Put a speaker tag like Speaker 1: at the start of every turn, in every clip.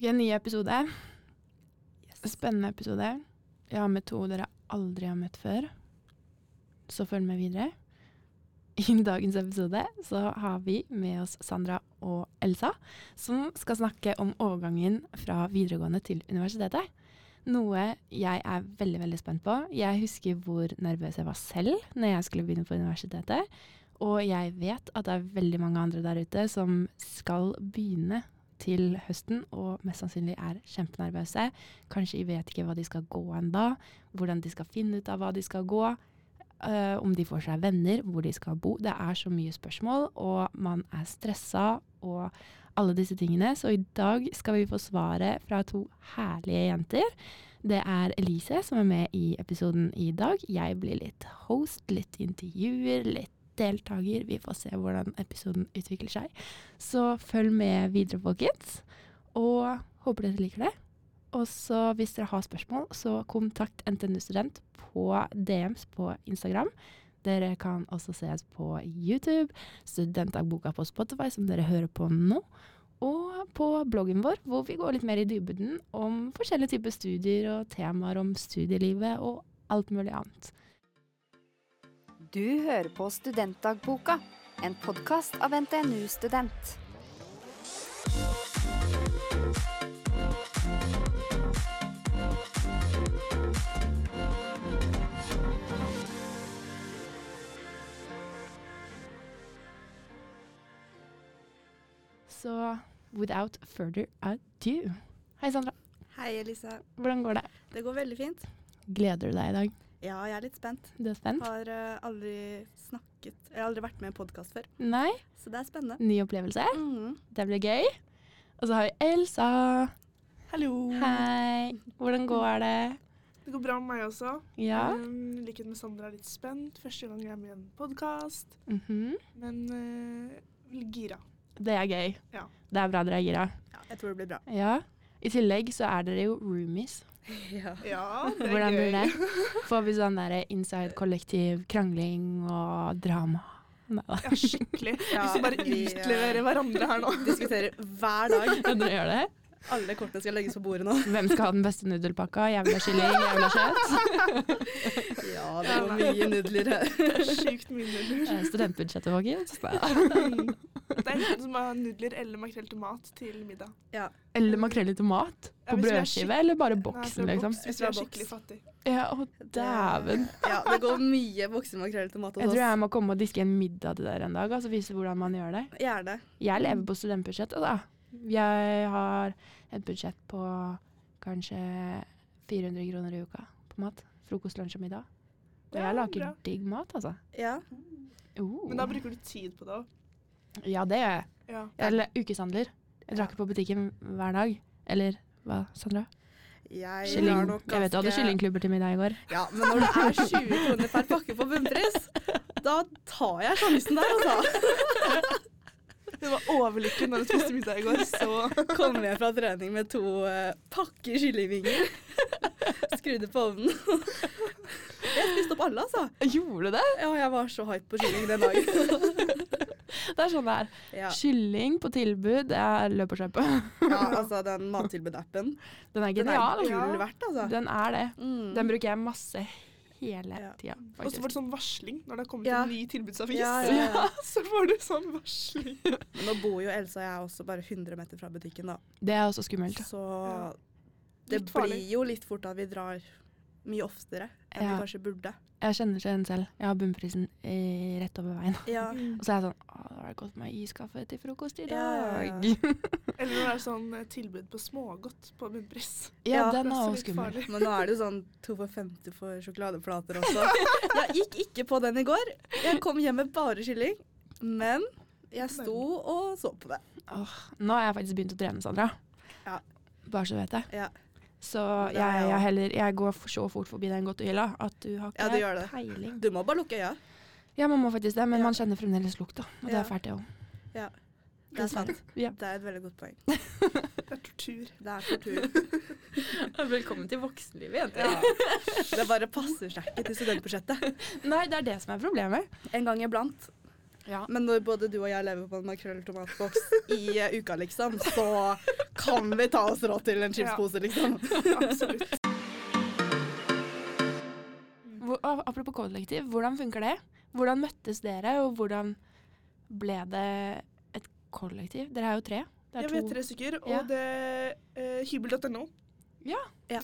Speaker 1: Ok, ny episode. Spennende episode. Jeg har med to dere aldri har møtt før. Så følg med videre. I dagens episode så har vi med oss Sandra og Elsa, som skal snakke om overgangen fra videregående til universitetet. Noe jeg er veldig veldig spent på. Jeg husker hvor nervøs jeg var selv når jeg skulle begynne på universitetet. Og jeg vet at det er veldig mange andre der ute som skal begynne til høsten og mest sannsynlig er kjempenervøse. Kanskje de vet ikke hva de skal gå ennå, hvordan de skal finne ut av hva de skal gå. eh, om de får seg venner, hvor de skal bo. Det er så mye spørsmål, og man er stressa og alle disse tingene. Så i dag skal vi få svaret fra to herlige jenter. Det er Elise som er med i episoden i dag. Jeg blir litt host, litt intervjuer, litt deltaker. Vi får se hvordan episoden utvikler seg. Så følg med videre, folkens. Og håper dere liker det. Og så hvis dere har spørsmål, så kontakt NTNU Student på DMs på Instagram. Dere kan også ses på YouTube, Studentdagboka på Spotify, som dere hører på nå. Og på bloggen vår, hvor vi går litt mer i dybden om forskjellige typer studier og temaer om studielivet og alt mulig annet.
Speaker 2: Du hører på Studentdagboka, en podkast av NTNU Student.
Speaker 1: Så without further ado Hei, Sandra.
Speaker 3: Hei, Elisa.
Speaker 1: Hvordan går det?
Speaker 3: Det går veldig fint.
Speaker 1: Gleder du deg i dag?
Speaker 3: Ja, jeg er litt spent.
Speaker 1: Du er spent?
Speaker 3: Har eh, aldri snakket Jeg har aldri vært med i en podkast før,
Speaker 1: Nei?
Speaker 3: så det er spennende.
Speaker 1: Ny opplevelse?
Speaker 3: Mhm.
Speaker 1: Det blir gøy. Og så har vi Elsa.
Speaker 4: Hallo.
Speaker 1: Hei. Hvordan går det?
Speaker 4: Det går bra med meg også.
Speaker 1: Ja?
Speaker 4: Um, I likhet med Sandra er jeg litt spent. Første gang jeg er med i en podkast.
Speaker 1: Mhm.
Speaker 4: Men eh, veldig gira.
Speaker 1: Det er gøy.
Speaker 4: Ja.
Speaker 1: Det er bra dere er gira.
Speaker 3: Ja, jeg tror det blir bra.
Speaker 1: Ja. I tillegg så er dere jo roomies.
Speaker 3: Ja.
Speaker 4: Ja, det er
Speaker 1: Hvordan blir
Speaker 4: gøy.
Speaker 1: det? Får vi sånn der inside kollektiv krangling og drama? Nei da.
Speaker 4: Ja, skikkelig. Hvis vi bare
Speaker 3: vi, eh,
Speaker 4: utleverer hverandre her nå.
Speaker 3: Diskuterer hver dag.
Speaker 1: Dere gjør det?
Speaker 3: Alle kortene skal legges på bordet nå.
Speaker 1: Hvem skal ha den beste nudelpakka? Jeg vil ha kylling, jeg vil ha kjøtt.
Speaker 3: Ja,
Speaker 4: det var
Speaker 3: mye nudler her.
Speaker 4: Det er Sjukt mye nudler.
Speaker 1: Eh, Studentbudsjettet, folkens.
Speaker 4: Det er enten som har nudler eller makrell til mat til middag.
Speaker 1: Eller makrell i tomat?
Speaker 4: Ja,
Speaker 1: På
Speaker 4: hvis vi er
Speaker 1: brødskive, eller bare boksen,
Speaker 4: Nei,
Speaker 1: liksom?
Speaker 4: boks, hvis vi er skikkelig fattige.
Speaker 1: Ja, å dæven.
Speaker 3: Ja, det går mye voksemakrell til mat
Speaker 1: Jeg tror jeg må komme og diske en middag til dere en dag. altså Vise hvordan man gjør det.
Speaker 3: Gjerne.
Speaker 1: Jeg lever på studentbudsjettet, da. Jeg har et budsjett på kanskje 400 kroner i uka på mat. Frokost, lunsj og middag. Og
Speaker 4: Ja,
Speaker 1: jeg lager
Speaker 4: bra.
Speaker 1: digg mat, altså.
Speaker 3: Ja.
Speaker 1: Oh.
Speaker 4: Men da bruker du tid på det òg.
Speaker 1: Ja, det gjør jeg.
Speaker 4: Ja.
Speaker 1: Eller ukeshandler. Jeg drar ikke på butikken hver dag. Eller hva, Sandra?
Speaker 3: Jeg
Speaker 1: Kylling. Jeg vet du hadde kyllingklubber til middag i går.
Speaker 3: Ja, men når det er 20 kroner per pakke på bunnpris, da tar jeg sjansen der, altså.
Speaker 4: Det var overlykkelig når jeg spiste middag i går, så
Speaker 3: Kommer jeg fra trening med to eh, pakker kyllingvinger. Skrudde på ovnen. Jeg spiste opp alle, altså.
Speaker 1: Gjorde det?
Speaker 3: Ja, jeg var så hype på kylling den dagen.
Speaker 1: Det er sånn det er.
Speaker 3: Ja,
Speaker 1: Kylling på tilbud, det er løp og kjøp.
Speaker 3: ja altså den mattilbud-appen.
Speaker 1: Den er
Speaker 3: Den er
Speaker 1: genial.
Speaker 3: gull verdt, altså.
Speaker 1: Den er det.
Speaker 3: Mm.
Speaker 1: Den bruker jeg masse hele
Speaker 3: Ja.
Speaker 1: tida,
Speaker 4: Og så
Speaker 1: faktisk.
Speaker 4: får du sånn varsling når det har kommet
Speaker 3: Ja.
Speaker 4: en ny tilbudsavis.
Speaker 3: Ja, ja, ja.
Speaker 4: Så får du sånn varsling.
Speaker 3: Men nå bor jo Elsa og jeg også bare 100 meter fra butikken, da.
Speaker 1: Det er også skummelt.
Speaker 3: Så
Speaker 4: Ja.
Speaker 3: det
Speaker 4: Litt farlig.
Speaker 3: blir jo litt fort at vi drar mye oftere enn vi
Speaker 1: Ja.
Speaker 3: kanskje burde.
Speaker 1: Jeg kjenner til den selv. Jeg har bunnprisen eh, rett over veien.
Speaker 3: Ja.
Speaker 1: Og så er jeg sånn Å, det var godt med iskaffe til frokost i
Speaker 3: Ja, ja, ja.
Speaker 1: dag.
Speaker 4: Eller når det er sånn eh, tilbud på smågodt på bunnpris.
Speaker 1: Ja,
Speaker 3: Ja,
Speaker 1: den
Speaker 4: Det
Speaker 1: er
Speaker 4: også
Speaker 1: også
Speaker 4: litt
Speaker 1: skummel.
Speaker 4: farlig.
Speaker 3: Men nå er det jo sånn to for 50 for sjokoladeplater også. Jeg gikk ikke på den i går. Jeg kom hjem med bare kylling. Men jeg sto og så på det.
Speaker 1: Nå har jeg faktisk begynt å trene, Sandra.
Speaker 3: Ja.
Speaker 1: Bare så du vet det.
Speaker 3: Ja.
Speaker 1: Så
Speaker 3: Det
Speaker 1: jeg,
Speaker 3: er jeg
Speaker 1: jeg,
Speaker 3: også.
Speaker 1: heller, jeg går for- så fort forbi den godtehylla at du har
Speaker 3: Ja,
Speaker 1: ikke
Speaker 3: du gjør det.
Speaker 1: peiling.
Speaker 3: Du må bare lukke øya.
Speaker 1: Ja, man må faktisk det, men
Speaker 3: Ja.
Speaker 1: man kjenner fremdeles lukta. Og det
Speaker 3: Ja.
Speaker 1: er fælt, det òg.
Speaker 3: Det er sant.
Speaker 1: Ja.
Speaker 3: Det er et veldig godt poeng.
Speaker 4: Det er tortur.
Speaker 3: Det er tortur.
Speaker 1: Velkommen til voksenlivet,
Speaker 3: Det bare passer seg ikke til studentbudsjettet.
Speaker 1: Nei, det er det som er problemet.
Speaker 3: En gang iblant.
Speaker 1: Ja.
Speaker 3: Men når både du og jeg lever på en makrell i tomatboks i eh, uka, liksom, så kan vi ta oss råd til en chipspose, liksom.
Speaker 4: Absolutt.
Speaker 1: Hvor, a- apropos kollektiv, hvordan funker det? Hvordan møttes dere, og hvordan ble det et kollektiv? Dere er jo tre. Det
Speaker 4: Jeg
Speaker 1: er
Speaker 4: vet
Speaker 1: to.
Speaker 4: tre stykker, og
Speaker 1: Ja.
Speaker 4: det eh, Hybel.no.
Speaker 1: Ja.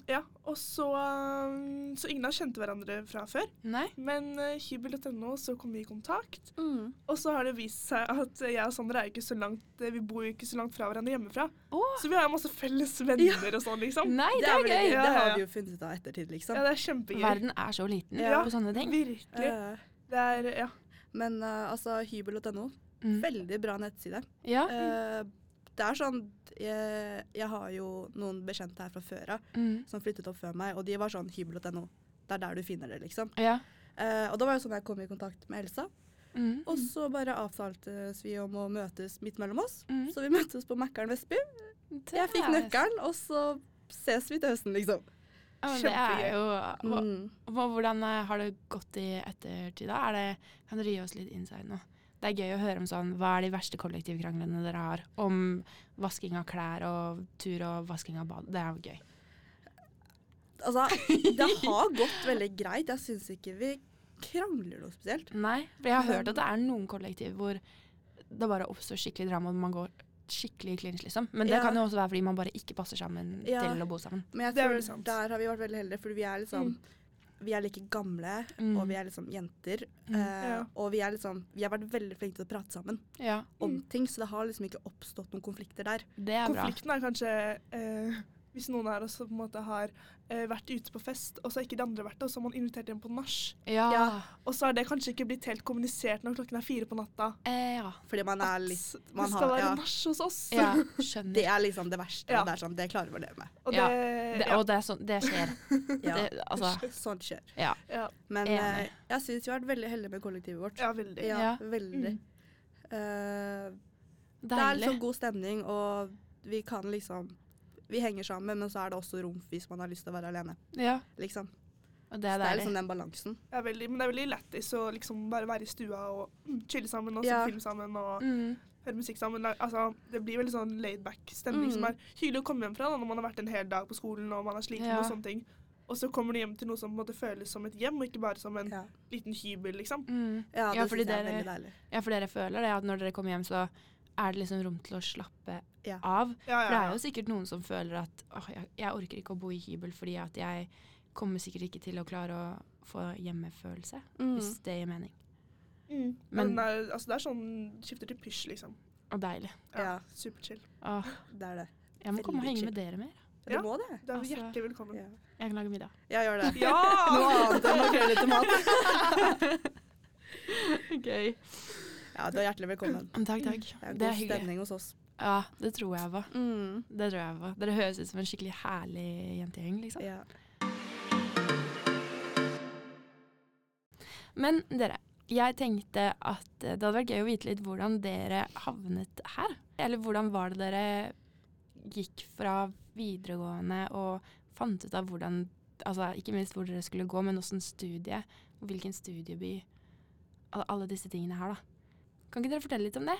Speaker 4: ja. Og så um, Så ingen av oss kjente hverandre fra før,
Speaker 1: Nei?
Speaker 4: men eh, hybel.no, så kom vi i kontakt.
Speaker 1: Mm.
Speaker 4: Og så har det vist seg at jeg og Sandra er ikke så langt eh, Vi bor jo ikke så langt fra hverandre hjemmefra.
Speaker 1: Å.
Speaker 4: Så vi har masse felles venner og sånn, liksom.
Speaker 1: Nei, det er
Speaker 3: vel-
Speaker 1: gøy!
Speaker 4: Ja,
Speaker 3: Det
Speaker 4: ja,
Speaker 3: har
Speaker 4: ja.
Speaker 3: vi jo funnet ut av ettertid, liksom.
Speaker 4: Ja, det er kjempegøy.
Speaker 1: Verden er så liten
Speaker 4: Ja.
Speaker 1: på sånne ting.
Speaker 4: Virkelig.
Speaker 3: Eh,
Speaker 4: Det er Ja.
Speaker 3: Men eh, altså, hybel.no,
Speaker 1: Mm.
Speaker 3: veldig bra nettside.
Speaker 1: Ja. mm.
Speaker 3: Eh, det er sånn jeg, jeg har jo noen bekjente her fra før av
Speaker 1: Mm.
Speaker 3: som flyttet opp før meg, og de var sånn hybel.no. Det er der du finner det, liksom.
Speaker 1: ja.
Speaker 3: Eh, og da var jo sånn jeg kom i kontakt med Elsa.
Speaker 1: Mm.
Speaker 3: Og så bare avtaltes vi om å møtes midt mellom oss.
Speaker 1: Mm.
Speaker 3: Så vi møttes på Mækkern Vestby. Jeg fikk nøkkelen, og så ses vi til høsten, liksom.
Speaker 1: Ja, men det er
Speaker 4: Kjempegøy.
Speaker 1: jo hva,
Speaker 3: Mm.
Speaker 1: hva- Hvordan eh, har det gått i ettertid, da? Er det, kan dere gi oss litt insight nå? Det er gøy å høre om sånn Hva er de verste kollektivkranglene dere har? Om vasking av klær og tur og vasking av bad. Det er jo gøy.
Speaker 3: Altså, det har gått veldig greit. Jeg syns ikke vi krangler noe spesielt.
Speaker 1: Nei, for jeg har hørt
Speaker 3: Men-
Speaker 1: at det er noen kollektiv hvor det bare oppstår skikkelig drama og man går skikkelig i clinch, liksom. Men det
Speaker 3: Ja.
Speaker 1: kan jo også være fordi man bare ikke passer sammen
Speaker 3: Ja.
Speaker 1: til å bo sammen.
Speaker 3: Men jeg
Speaker 4: Det er
Speaker 3: tror
Speaker 4: vel sant. Mm.
Speaker 3: der har vi vært veldig heldige, fordi vi er liksom Vi er like gamle,
Speaker 1: Mm.
Speaker 3: og vi er liksom jenter.
Speaker 1: Mm.
Speaker 3: eh,
Speaker 4: Ja.
Speaker 3: Og vi er liksom Vi har vært veldig flinke til å prate sammen
Speaker 1: Ja,
Speaker 3: om
Speaker 4: Mm.
Speaker 3: ting, så det har liksom ikke oppstått noen konflikter der.
Speaker 1: det er bra.
Speaker 4: Konflikten er kanskje eh, hvis noen her også på en måte har eh, vært ute på fest, og så har ikke de andre vært det, og så har man invitert dem på nach.
Speaker 1: Ja. Ja.
Speaker 3: Ja.
Speaker 4: Og så har det kanskje ikke blitt helt kommunisert når klokken er fire på natta.
Speaker 1: Eh, ja.
Speaker 3: Fordi man er litt
Speaker 4: at
Speaker 3: man
Speaker 4: det
Speaker 3: har-
Speaker 4: skal være
Speaker 3: ja.
Speaker 4: nach hos oss.
Speaker 1: ja. Skjønner.
Speaker 3: Det er liksom det verste.
Speaker 4: Ja.
Speaker 3: og Det er sånn, det klarer vi å leve med.
Speaker 4: Og det,
Speaker 1: Ja, Det,
Speaker 4: ja,
Speaker 1: og det, er sånn, det skjer.
Speaker 3: Ja.
Speaker 1: Det, altså,
Speaker 3: Sånt skjer.
Speaker 1: ja.
Speaker 4: ja,
Speaker 3: Men
Speaker 1: Enig.
Speaker 3: eh, jeg syns vi har vært veldig heldige med kollektivet vårt.
Speaker 4: ja, veldig.
Speaker 3: Ja,
Speaker 1: Ja.
Speaker 3: veldig.
Speaker 4: Mm.
Speaker 3: Eh, det er
Speaker 1: Deilig.
Speaker 3: liksom god stemning, og vi kan liksom Vi henger sammen, men så er det også rom hvis man har lyst til å være alene.
Speaker 1: Ja,
Speaker 3: Liksom.
Speaker 1: og det
Speaker 3: så
Speaker 1: er
Speaker 3: det er
Speaker 1: deilig.
Speaker 3: liksom den balansen.
Speaker 4: Ja, veldig. Men det er veldig lættis å liksom bare være i stua og mm, chille sammen og se
Speaker 3: Ja.
Speaker 4: film sammen
Speaker 3: sånn-
Speaker 4: og
Speaker 1: Mm.
Speaker 4: høre musikk sammen. Da- Altså, det blir veldig sånn laid-back stemning
Speaker 3: Mm.
Speaker 4: som er hyggelig å komme hjem fra da, når man har vært en hel dag på skolen og man er sliten
Speaker 1: Ja.
Speaker 4: og sånne ting. Og så kommer du hjem til noe som på en måte føles som et hjem, og ikke bare som en
Speaker 3: Ja,
Speaker 4: liten hybel, liksom.
Speaker 1: Mm.
Speaker 3: ja det
Speaker 1: Ja, fordi
Speaker 3: syns jeg er
Speaker 1: dere-
Speaker 3: veldig deilig.
Speaker 1: ja, for dere føler det at når dere kommer hjem, så er det liksom rom til å slappe
Speaker 3: Ja.
Speaker 1: av.
Speaker 4: Ja,
Speaker 1: For det
Speaker 4: ja,
Speaker 1: er
Speaker 4: ja.
Speaker 1: jo sikkert noen som føler at åh, jeg, jeg orker ikke å bo i hybel fordi at jeg kommer sikkert ikke til å klare å få hjemmefølelse, hvis
Speaker 3: Mm.
Speaker 1: det gir mening.
Speaker 4: Mm.
Speaker 1: Men-
Speaker 4: Men, det er- altså, det er sånn skifter til pysj, liksom.
Speaker 1: Og deilig.
Speaker 3: Ja,
Speaker 4: Ja. Superchill.
Speaker 1: Åh,
Speaker 3: det er det.
Speaker 1: jeg må komme og
Speaker 3: Veldig
Speaker 1: henge
Speaker 3: chill.
Speaker 1: med dere mer.
Speaker 3: Du
Speaker 4: Ja.
Speaker 3: må det.
Speaker 4: Du er
Speaker 1: Altså-
Speaker 4: hjertelig velkommen.
Speaker 3: Ja,
Speaker 1: Jeg kan lage middag.
Speaker 3: ja gjør det.
Speaker 4: Ja!
Speaker 3: Noe annet enn makrell i tomat.
Speaker 1: Gøy.
Speaker 3: Ja, du er hjertelig velkommen.
Speaker 1: Takk, takk.
Speaker 3: Det er
Speaker 1: Det er
Speaker 3: god
Speaker 1: hyggelig.
Speaker 3: stemning hos oss.
Speaker 1: Ja, det tror jeg var.
Speaker 3: Mm.
Speaker 1: Det tror jeg var. Dere høres ut som en skikkelig herlig jentegjeng, liksom.
Speaker 3: Ja.
Speaker 1: Men dere, jeg tenkte at eh, det hadde vært gøy å vite litt hvordan dere havnet her. Eller hvordan var det dere gikk fra videregående og fant ut av hvordan Altså ikke minst hvor dere skulle gå, men åssen studie, og hvilken studieby. al- Alle disse tingene her, da. Kan ikke dere fortelle litt om det?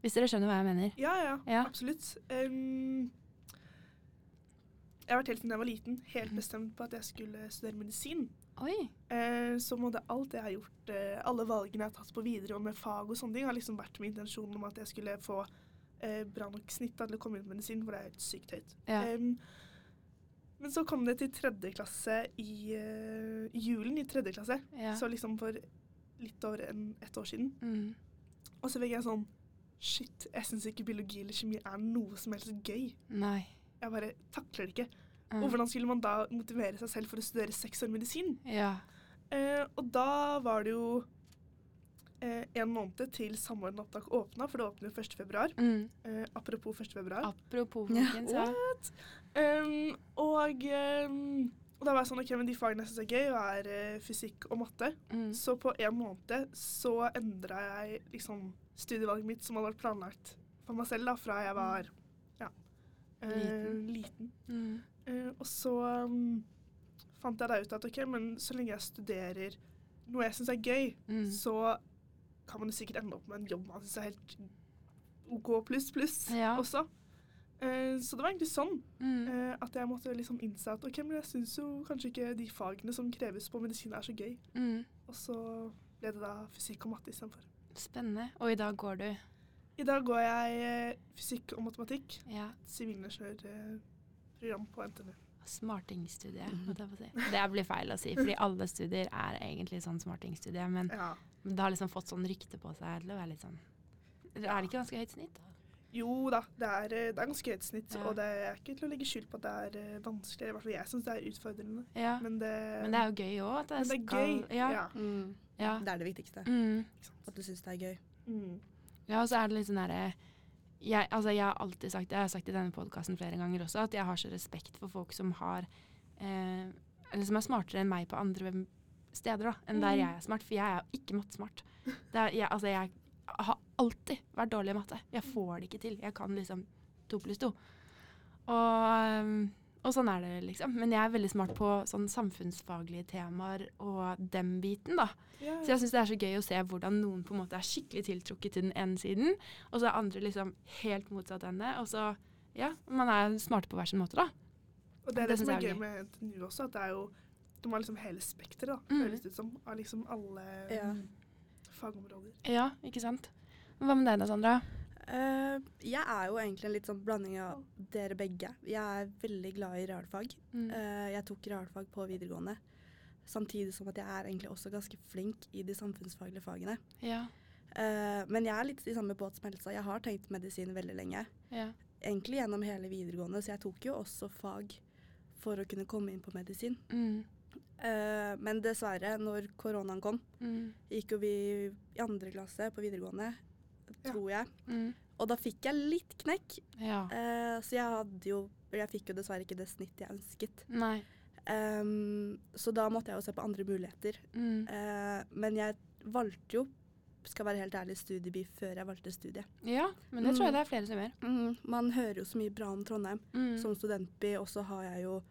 Speaker 1: Hvis dere skjønner hva jeg mener.
Speaker 4: Ja, ja,
Speaker 1: Ja.
Speaker 4: absolutt. Em, jeg har vært helt siden jeg var liten, helt
Speaker 1: Mhm.
Speaker 4: bestemt på at jeg skulle studere medisin.
Speaker 1: Oi.
Speaker 4: Eh, så måtte alt jeg har gjort, eh, alle valgene jeg har tatt på videregående med fag og sånne ting, har liksom vært med intensjonen om at jeg skulle få eh, bra nok snitt da til å komme inn på medisin, for det er helt sykt høyt.
Speaker 1: Ja.
Speaker 4: Em, men så kom det til tredje klasse i eh, i julen i tredje klasse,
Speaker 1: ja.
Speaker 4: så liksom for litt over en, ett år siden.
Speaker 1: Mm.
Speaker 4: Og så fikk jeg sånn Shit, jeg syns ikke biologi eller kjemi er noe som helst gøy.
Speaker 1: Nei.
Speaker 4: Jeg bare takler det ikke.
Speaker 1: Mm.
Speaker 4: Og hvordan skulle man da motivere seg selv for å studere seks år medisin?
Speaker 1: Ja.
Speaker 4: Eh, og da var det jo eh, en måned til Samordna opptak åpna, for det åpner jo 1. februar.
Speaker 1: Mm.
Speaker 4: Eh, apropos 1. februar.
Speaker 1: Apropos,
Speaker 3: Ja.
Speaker 1: folkens. Ja.
Speaker 4: Um, og, um, og da var jeg sånn OK, men de fagene jeg syns er gøy, er eh, fysikk og matte.
Speaker 1: Mm.
Speaker 4: Så på en måned så endra jeg liksom studievalget mitt, som hadde vært planlagt for meg selv da, fra jeg var ja, eh,
Speaker 1: Mm. Liten.
Speaker 4: liten.
Speaker 1: Mm.
Speaker 4: Eh, og så um, fant jeg da ut at OK, men så lenge jeg studerer noe jeg syns er gøy,
Speaker 1: Mm.
Speaker 4: så kan man jo sikkert ende opp med en jobb man syns er helt OK pluss pluss
Speaker 1: Ja.
Speaker 4: også. Eh, så det var egentlig sånn
Speaker 1: Mm.
Speaker 4: eh, at jeg måtte liksom innse at ok, men jeg syns jo kanskje ikke de fagene som kreves på medisin, er så gøy.
Speaker 1: Mm.
Speaker 4: Og så ble det da fysikk og matte istedenfor.
Speaker 1: Spennende. Og i dag går du.
Speaker 4: I dag går jeg eh, fysikk og matematikk,
Speaker 1: Ja,
Speaker 4: sivilingeniørprogram på NTNU.
Speaker 1: Smartingstudiet.
Speaker 4: Mhm.
Speaker 1: holdt jeg på å si. Det blir feil å si, fordi alle studier er egentlig sånn smartingstudie. Men
Speaker 4: Ja.
Speaker 1: det har liksom fått sånn rykte på seg til å være litt sånn Eller Er det ikke ganske høyt snitt? da?
Speaker 4: Jo da, det er, eh, det er ganske høyt snitt,
Speaker 1: Ja.
Speaker 4: og det er ikke til å legge skjul på at det er eh, vanskelig. I hvert fall jeg syns det er utfordrende.
Speaker 1: Ja.
Speaker 4: Men det,
Speaker 1: Men det er jo gøy òg. At det,
Speaker 4: men det er
Speaker 1: skal,
Speaker 4: gøy.
Speaker 1: Ja.
Speaker 4: Ja.
Speaker 1: Ja.
Speaker 3: Det er det viktigste.
Speaker 1: Mm.
Speaker 3: At du syns det er gøy.
Speaker 4: Mm.
Speaker 1: Ja, og så er det litt sånn derre jeg, altså jeg har alltid sagt det, jeg har sagt i denne podkasten flere ganger også, at jeg har så respekt for folk som har eh, Eller som er smartere enn meg på andre steder, da, enn der
Speaker 4: Mm.
Speaker 1: jeg er smart. For jeg er jo ikke mattesmart. Det er, jeg, altså jeg har alltid vært dårlig i matte. Jeg får det ikke til. Jeg kan liksom to pluss to. Og, um, og sånn er det, liksom. Men jeg er veldig smart på sånn samfunnsfaglige temaer og den biten, da.
Speaker 4: Ja.
Speaker 1: Så jeg syns det er så gøy å se hvordan noen på en måte er skikkelig tiltrukket til den ene siden, og så er andre liksom helt motsatt ende. Og så ja, man er smarte på hver sin måte, da.
Speaker 4: Og det er
Speaker 1: det
Speaker 4: det, som
Speaker 1: synes
Speaker 4: er
Speaker 1: jeg er
Speaker 4: gøy med NTNU også, at det er jo de har liksom hele spekteret, da,
Speaker 1: Mm.
Speaker 4: høres det ut som. Av liksom alle fagområder.
Speaker 1: Ja, ikke sant. Men hva med deg da, Sandra?
Speaker 3: Eh, jeg er jo egentlig en litt sånn blanding av dere begge. Jeg er veldig glad i realfag.
Speaker 1: Mm.
Speaker 3: Eh, jeg tok realfag på videregående. Samtidig som at jeg er egentlig også ganske flink i de samfunnsfaglige fagene.
Speaker 1: Ja.
Speaker 3: Eh, men jeg er litt i samme båt som Elsa. Jeg har tenkt medisin veldig lenge.
Speaker 1: Ja.
Speaker 3: Egentlig gjennom hele videregående, så jeg tok jo også fag for å kunne komme inn på medisin.
Speaker 1: Mm.
Speaker 3: Eh, men dessverre, når koronaen kom,
Speaker 1: Mm.
Speaker 3: gikk jo vi i andre klasse på videregående,
Speaker 4: Ja.
Speaker 3: tror jeg.
Speaker 1: Mm.
Speaker 3: Og da fikk jeg litt knekk.
Speaker 1: Ja.
Speaker 3: Eh, så jeg hadde jo Jeg fikk jo dessverre ikke det snittet jeg ønsket.
Speaker 1: Nei.
Speaker 3: Ehm, så da måtte jeg jo se på andre muligheter.
Speaker 1: Mm.
Speaker 3: Eh, men jeg valgte jo, skal være helt ærlig, studiebil før jeg valgte studiet.
Speaker 1: Ja, men det tror
Speaker 3: Mm.
Speaker 1: jeg det er flere som gjør.
Speaker 3: Man hører jo så mye bra om Trondheim.
Speaker 1: Mm.
Speaker 3: Som studentby, og så har jeg jo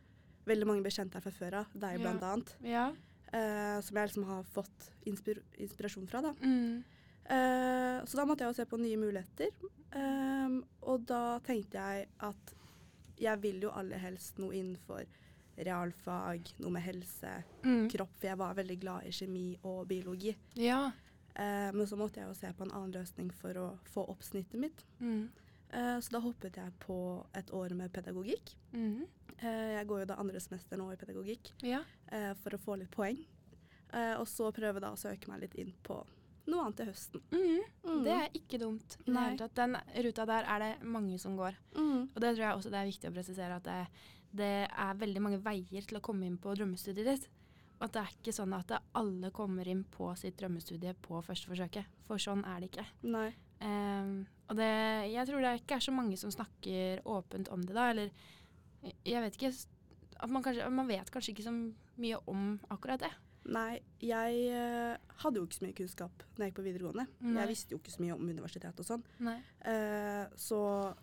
Speaker 3: veldig mange bekjente her fra før av, deg
Speaker 1: Ja.
Speaker 3: blant annet,
Speaker 1: Mm. Ja.
Speaker 3: eh, som jeg liksom har fått inspir inspirasjon fra, da.
Speaker 1: Mm.
Speaker 3: Eh, så da måtte jeg jo se på nye muligheter. Ehm, og da tenkte jeg at jeg vil jo aller helst noe innenfor realfag, noe med helse,
Speaker 1: Mm.
Speaker 3: kropp, for jeg var veldig glad i kjemi og biologi.
Speaker 1: Ja.
Speaker 3: Eh, men så måtte jeg jo se på en annen løsning for å få opp snittet mitt.
Speaker 1: Mm.
Speaker 3: Eh, så da hoppet jeg på et år med pedagogikk.
Speaker 1: Mhm.
Speaker 3: Eh, jeg går jo da andre semester nå i pedagogikk
Speaker 1: Ja.
Speaker 3: eh, for å få litt poeng. Eh, og så prøve da å søke meg litt inn på noe annet til høsten.
Speaker 1: Mm.
Speaker 3: Mm.
Speaker 1: Det er ikke dumt. i det
Speaker 3: Nei.
Speaker 1: hele tatt. Den ruta der er det mange som går.
Speaker 3: Mm.
Speaker 1: Og det tror jeg også det er viktig å presisere, at det, det er veldig mange veier til å komme inn på drømmestudiet ditt. Og at det er ikke sånn at det- alle kommer inn på sitt drømmestudie på første forsøket. For sånn er det ikke.
Speaker 3: Nei.
Speaker 1: Ehm, og det, jeg tror det ikke er så mange som snakker åpent om det da, eller jeg vet ikke s- at man, kanskje, man vet kanskje ikke så mye om akkurat det.
Speaker 3: Nei, jeg eh, hadde jo ikke så mye kunnskap når jeg gikk på videregående.
Speaker 1: Nei.
Speaker 3: Jeg visste jo ikke så mye om universitet og sånn.
Speaker 1: Nei.
Speaker 3: Eh, så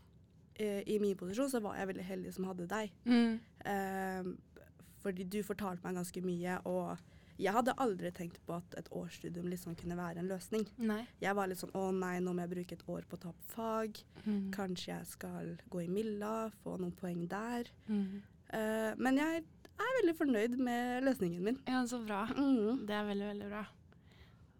Speaker 3: eh, i min posisjon så var jeg veldig heldig som hadde deg.
Speaker 1: Mm.
Speaker 3: Eh, fordi du fortalte meg ganske mye, og jeg hadde aldri tenkt på at et årsstudium liksom kunne være en løsning.
Speaker 1: Nei.
Speaker 3: Jeg var litt sånn å nei, nå må jeg bruke et år på å ta opp fag.
Speaker 1: Mm.
Speaker 3: Kanskje jeg skal gå i Milla, få noen poeng der.
Speaker 1: Mm.
Speaker 3: Eh, men jeg er veldig fornøyd med løsningen min.
Speaker 1: Ja, så bra.
Speaker 3: Mm.
Speaker 1: Det er veldig, veldig bra.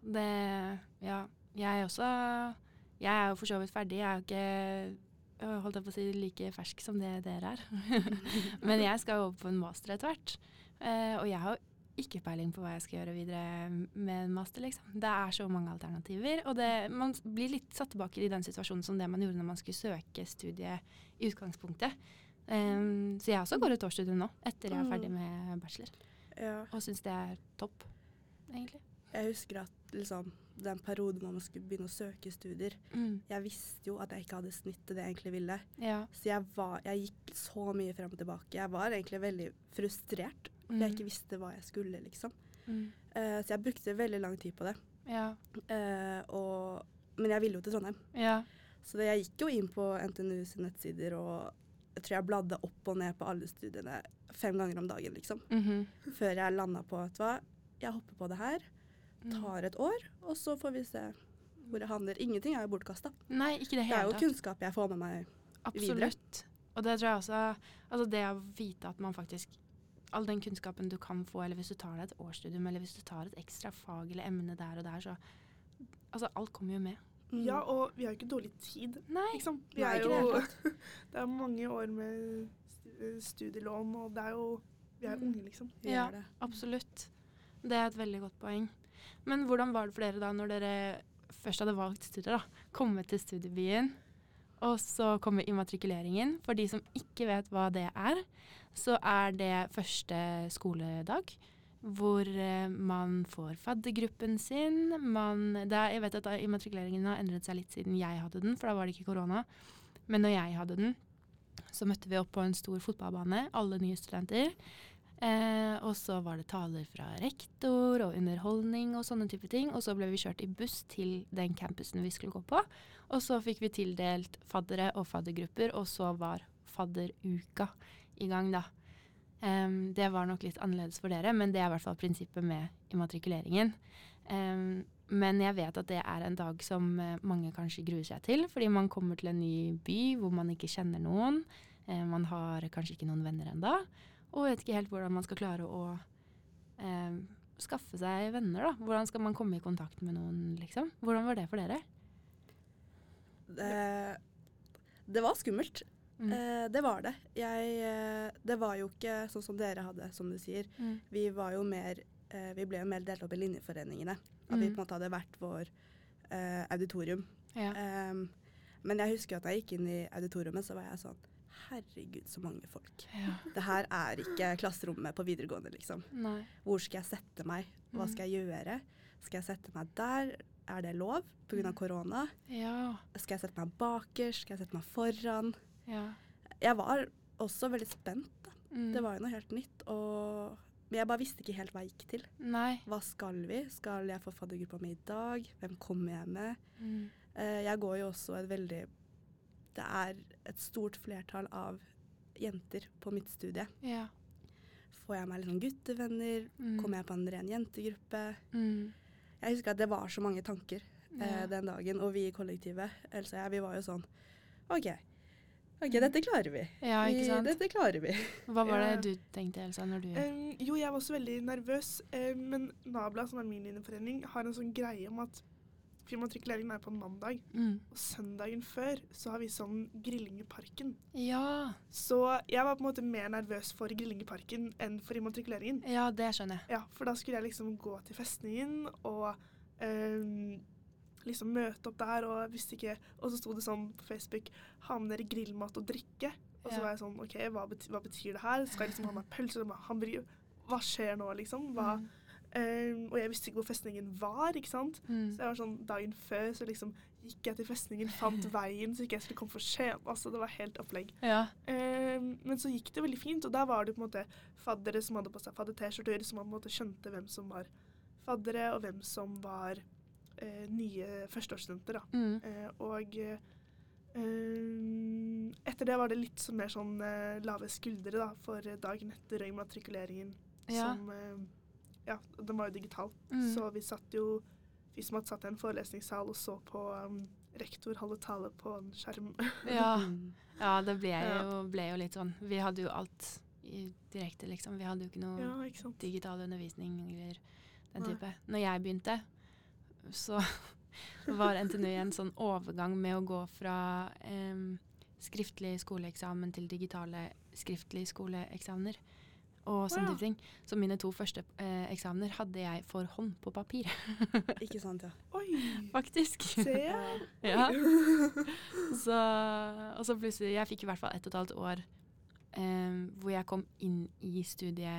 Speaker 1: Det Ja. Jeg også Jeg er jo for så vidt ferdig. Jeg er jo ikke øh, holdt jeg på å si like fersk som det dere er. Men jeg skal jo over på en master etter hvert. Eh, og jeg har jo ikke peiling på hva jeg skal gjøre videre med en master, liksom. Det er så mange alternativer. Og det, man blir litt satt tilbake i den situasjonen som det man gjorde når man skulle søke studiet i utgangspunktet. Eh, så jeg også går et årsstudium nå, etter jeg er ferdig med bachelor.
Speaker 3: Ja.
Speaker 1: Og syns det er topp, egentlig.
Speaker 3: Jeg husker at liksom, den perioden hvor man skulle begynne å søke studier,
Speaker 1: Mm.
Speaker 3: jeg visste jo at jeg ikke hadde snitt til det jeg egentlig ville.
Speaker 1: Ja.
Speaker 3: Så jeg, var, jeg gikk så mye frem og tilbake. Jeg var egentlig veldig frustrert. for Jeg ikke visste hva jeg skulle, liksom.
Speaker 1: Mm.
Speaker 3: Eh, så jeg brukte veldig lang tid på det.
Speaker 1: Ja.
Speaker 3: Eh, og, men jeg ville jo til Trondheim.
Speaker 1: Ja.
Speaker 3: Så det, jeg gikk jo inn på NTNU sine nettsider, og jeg tror jeg bladde opp og ned på alle studiene fem ganger om dagen, liksom.
Speaker 1: Mhm.
Speaker 3: Før jeg landa på, vet du hva, jeg hopper på det her,
Speaker 1: Mm.
Speaker 3: tar et år, og så får vi se hvor jeg havner. Ingenting er jo bortkasta.
Speaker 1: Nei, ikke det
Speaker 3: Det er
Speaker 1: hele
Speaker 3: jo kunnskap jeg får med meg. videre.
Speaker 1: Absolutt. Og det tror jeg også Altså det å vite at man faktisk All den kunnskapen du kan få, eller hvis du tar deg et årsstudium, eller hvis du tar et ekstra fag eller emne der og der, så Altså alt kommer jo med.
Speaker 3: Mm.
Speaker 4: Ja, og vi har jo ikke dårlig tid.
Speaker 1: Nei.
Speaker 4: Ikke sant? Vi
Speaker 3: Nei,
Speaker 4: er
Speaker 3: ikke det
Speaker 4: jo,
Speaker 3: hele
Speaker 4: det er mange år med stu- studielån, og det er jo Vi er
Speaker 1: Mm.
Speaker 4: unge, liksom.
Speaker 3: Vi
Speaker 1: Ja.
Speaker 3: gjør det.
Speaker 1: Absolutt. Det er et veldig godt poeng. Men hvordan var det for dere da, når dere først hadde valgt studier, da? Komme til studiebyen, og så kommer immatrikuleringen. For de som ikke vet hva det er, så er det første skoledag. Hvor eh, man får faddergruppen sin. Man, det er, jeg vet at immatrikuleringen har endret seg litt siden jeg hadde den, for da var det ikke korona. Men når jeg hadde den, så møtte vi opp på en stor fotballbane, alle nye studenter. Eh, og så var det taler fra rektor og underholdning og sånne type ting. Og så ble vi kjørt i buss til den campusen vi skulle gå på. Og så fikk vi tildelt faddere og faddergrupper, og så var fadderuka i gang, da. Em, det var nok litt annerledes for dere, men det er i hvert fall prinsippet med immatrikuleringen. Em, men jeg vet at det er en dag som eh, mange kanskje gruer seg til, fordi man kommer til en ny by hvor man ikke kjenner noen. Eh, man har kanskje ikke noen venner ennå og vet ikke helt hvordan man skal klare å eh, skaffe seg venner. da. Hvordan skal man komme i kontakt med noen, liksom? Hvordan var det for dere?
Speaker 3: Det, det var skummelt.
Speaker 1: Mm.
Speaker 3: Eh, det var det. Jeg, eh, det var jo ikke sånn som dere hadde, som du sier.
Speaker 1: Mm.
Speaker 3: Vi var jo mer eh, Vi ble jo mer delt opp i linjeforeningene. At
Speaker 1: Mm.
Speaker 3: vi på en måte hadde hvert vår eh, auditorium.
Speaker 1: Ja.
Speaker 3: Em, men jeg husker at da jeg gikk inn i auditoriumet, så var jeg sånn Herregud, så mange folk.
Speaker 1: Eh, ja.
Speaker 3: Det her er ikke klasserommet på videregående, liksom.
Speaker 1: Nei.
Speaker 3: Hvor skal jeg sette meg? Hva
Speaker 1: Mm.
Speaker 3: skal jeg gjøre? Skal jeg sette meg der? Er det lov pga.
Speaker 1: Mm.
Speaker 3: korona?
Speaker 1: Ja.
Speaker 3: Skal jeg sette meg bakerst? Skal jeg sette meg foran?
Speaker 1: Ja.
Speaker 3: Jeg var også veldig spent. da.
Speaker 1: Mm.
Speaker 3: Det var jo noe helt nytt. Og men jeg bare visste ikke helt hva jeg gikk til.
Speaker 1: Nei.
Speaker 3: Hva skal vi? Skal jeg få faddergruppa mi i dag? Hvem kommer jeg med?
Speaker 1: Mm.
Speaker 3: Eh, Jeg går jo også et veldig Det er et stort flertall av jenter på mitt studie.
Speaker 1: Ja.
Speaker 3: Får jeg meg litt sånn guttevenner?
Speaker 1: Mm.
Speaker 3: Kommer jeg på en ren jentegruppe?
Speaker 1: Mm.
Speaker 3: Jeg husker at det var så mange tanker. eh,
Speaker 1: Ja.
Speaker 3: den dagen. Og vi i kollektivet, Else og jeg, vi var jo sånn OK, ok, dette klarer vi.
Speaker 1: Mm. ja,
Speaker 3: Vi-
Speaker 1: ikke sant.
Speaker 3: Dette klarer vi.
Speaker 1: Hva var
Speaker 4: Ja.
Speaker 1: det du tenkte, Elsa, når du
Speaker 4: Em, jo, jeg var også veldig nervøs, eh, men Nabla, som er min linjeforening, har en sånn greie om at filmatrikuleringen er på en mandag,
Speaker 1: mm.
Speaker 4: og søndagen før så har vi sånn grilling i parken.
Speaker 1: Ja.
Speaker 4: Så jeg var på en måte mer nervøs for grilling i parken enn for immatrikuleringen.
Speaker 1: Ja, det skjønner jeg.
Speaker 4: Ja, for da skulle jeg liksom gå til festningen og em, liksom møte opp der, og jeg visste ikke Og så sto det sånn på Facebook 'Ha med dere grillmat og drikke'. Og så
Speaker 1: Ja.
Speaker 4: var jeg sånn OK, hva betyr, hva betyr det her? Skal jeg liksom ha med pølse eller hamburger? Hva skjer nå, liksom? Hva?
Speaker 1: Mm.
Speaker 4: Em, og jeg visste ikke hvor festningen var, ikke sant.
Speaker 1: Mm.
Speaker 4: Så jeg var sånn dagen før så liksom gikk jeg til festningen, fant veien så ikke jeg skulle komme for sent. Altså, det var helt opplegg.
Speaker 1: Ja.
Speaker 4: Eh, men så gikk det veldig fint, og der var det på en måte faddere som hadde på seg fadder-T-skjorter, så man på en måte skjønte hvem som var faddere, og hvem som var eh, nye førsteårsstudenter. da.
Speaker 1: Mm.
Speaker 4: Eh, og eh, eh, etter det var det litt sånn mer sånn eh, lave skuldre da, for dagen etter og immatrikuleringen
Speaker 1: Ja.
Speaker 4: som eh, Ja, den var jo digital,
Speaker 1: Mm.
Speaker 4: så vi satt jo Vi som hadde satt i en forelesningssal og så på eh, rektor holde tale på en skjerm.
Speaker 1: ja.
Speaker 3: Mm.
Speaker 1: Ja, det ble
Speaker 4: Ja.
Speaker 1: jo, ble jo litt sånn. Vi hadde jo alt i direkte, liksom. Vi hadde jo ikke noe
Speaker 4: ja, ikke sant?
Speaker 1: digital undervisning eller den
Speaker 4: Nei.
Speaker 1: type. Når jeg begynte, så var NTNU i en sånn overgang med å gå fra em, skriftlig skoleeksamen til digitale skriftlige skoleeksamener. Og sånne
Speaker 4: ja.
Speaker 1: type ting. Så mine to første eh, eksamener hadde jeg for hånd på papir,
Speaker 3: Ikke sant, ja.
Speaker 4: Oi!
Speaker 1: faktisk.
Speaker 4: Se!
Speaker 1: Ja. Så, og så plutselig Jeg fikk i hvert fall ett og et halvt år eh, hvor jeg kom inn i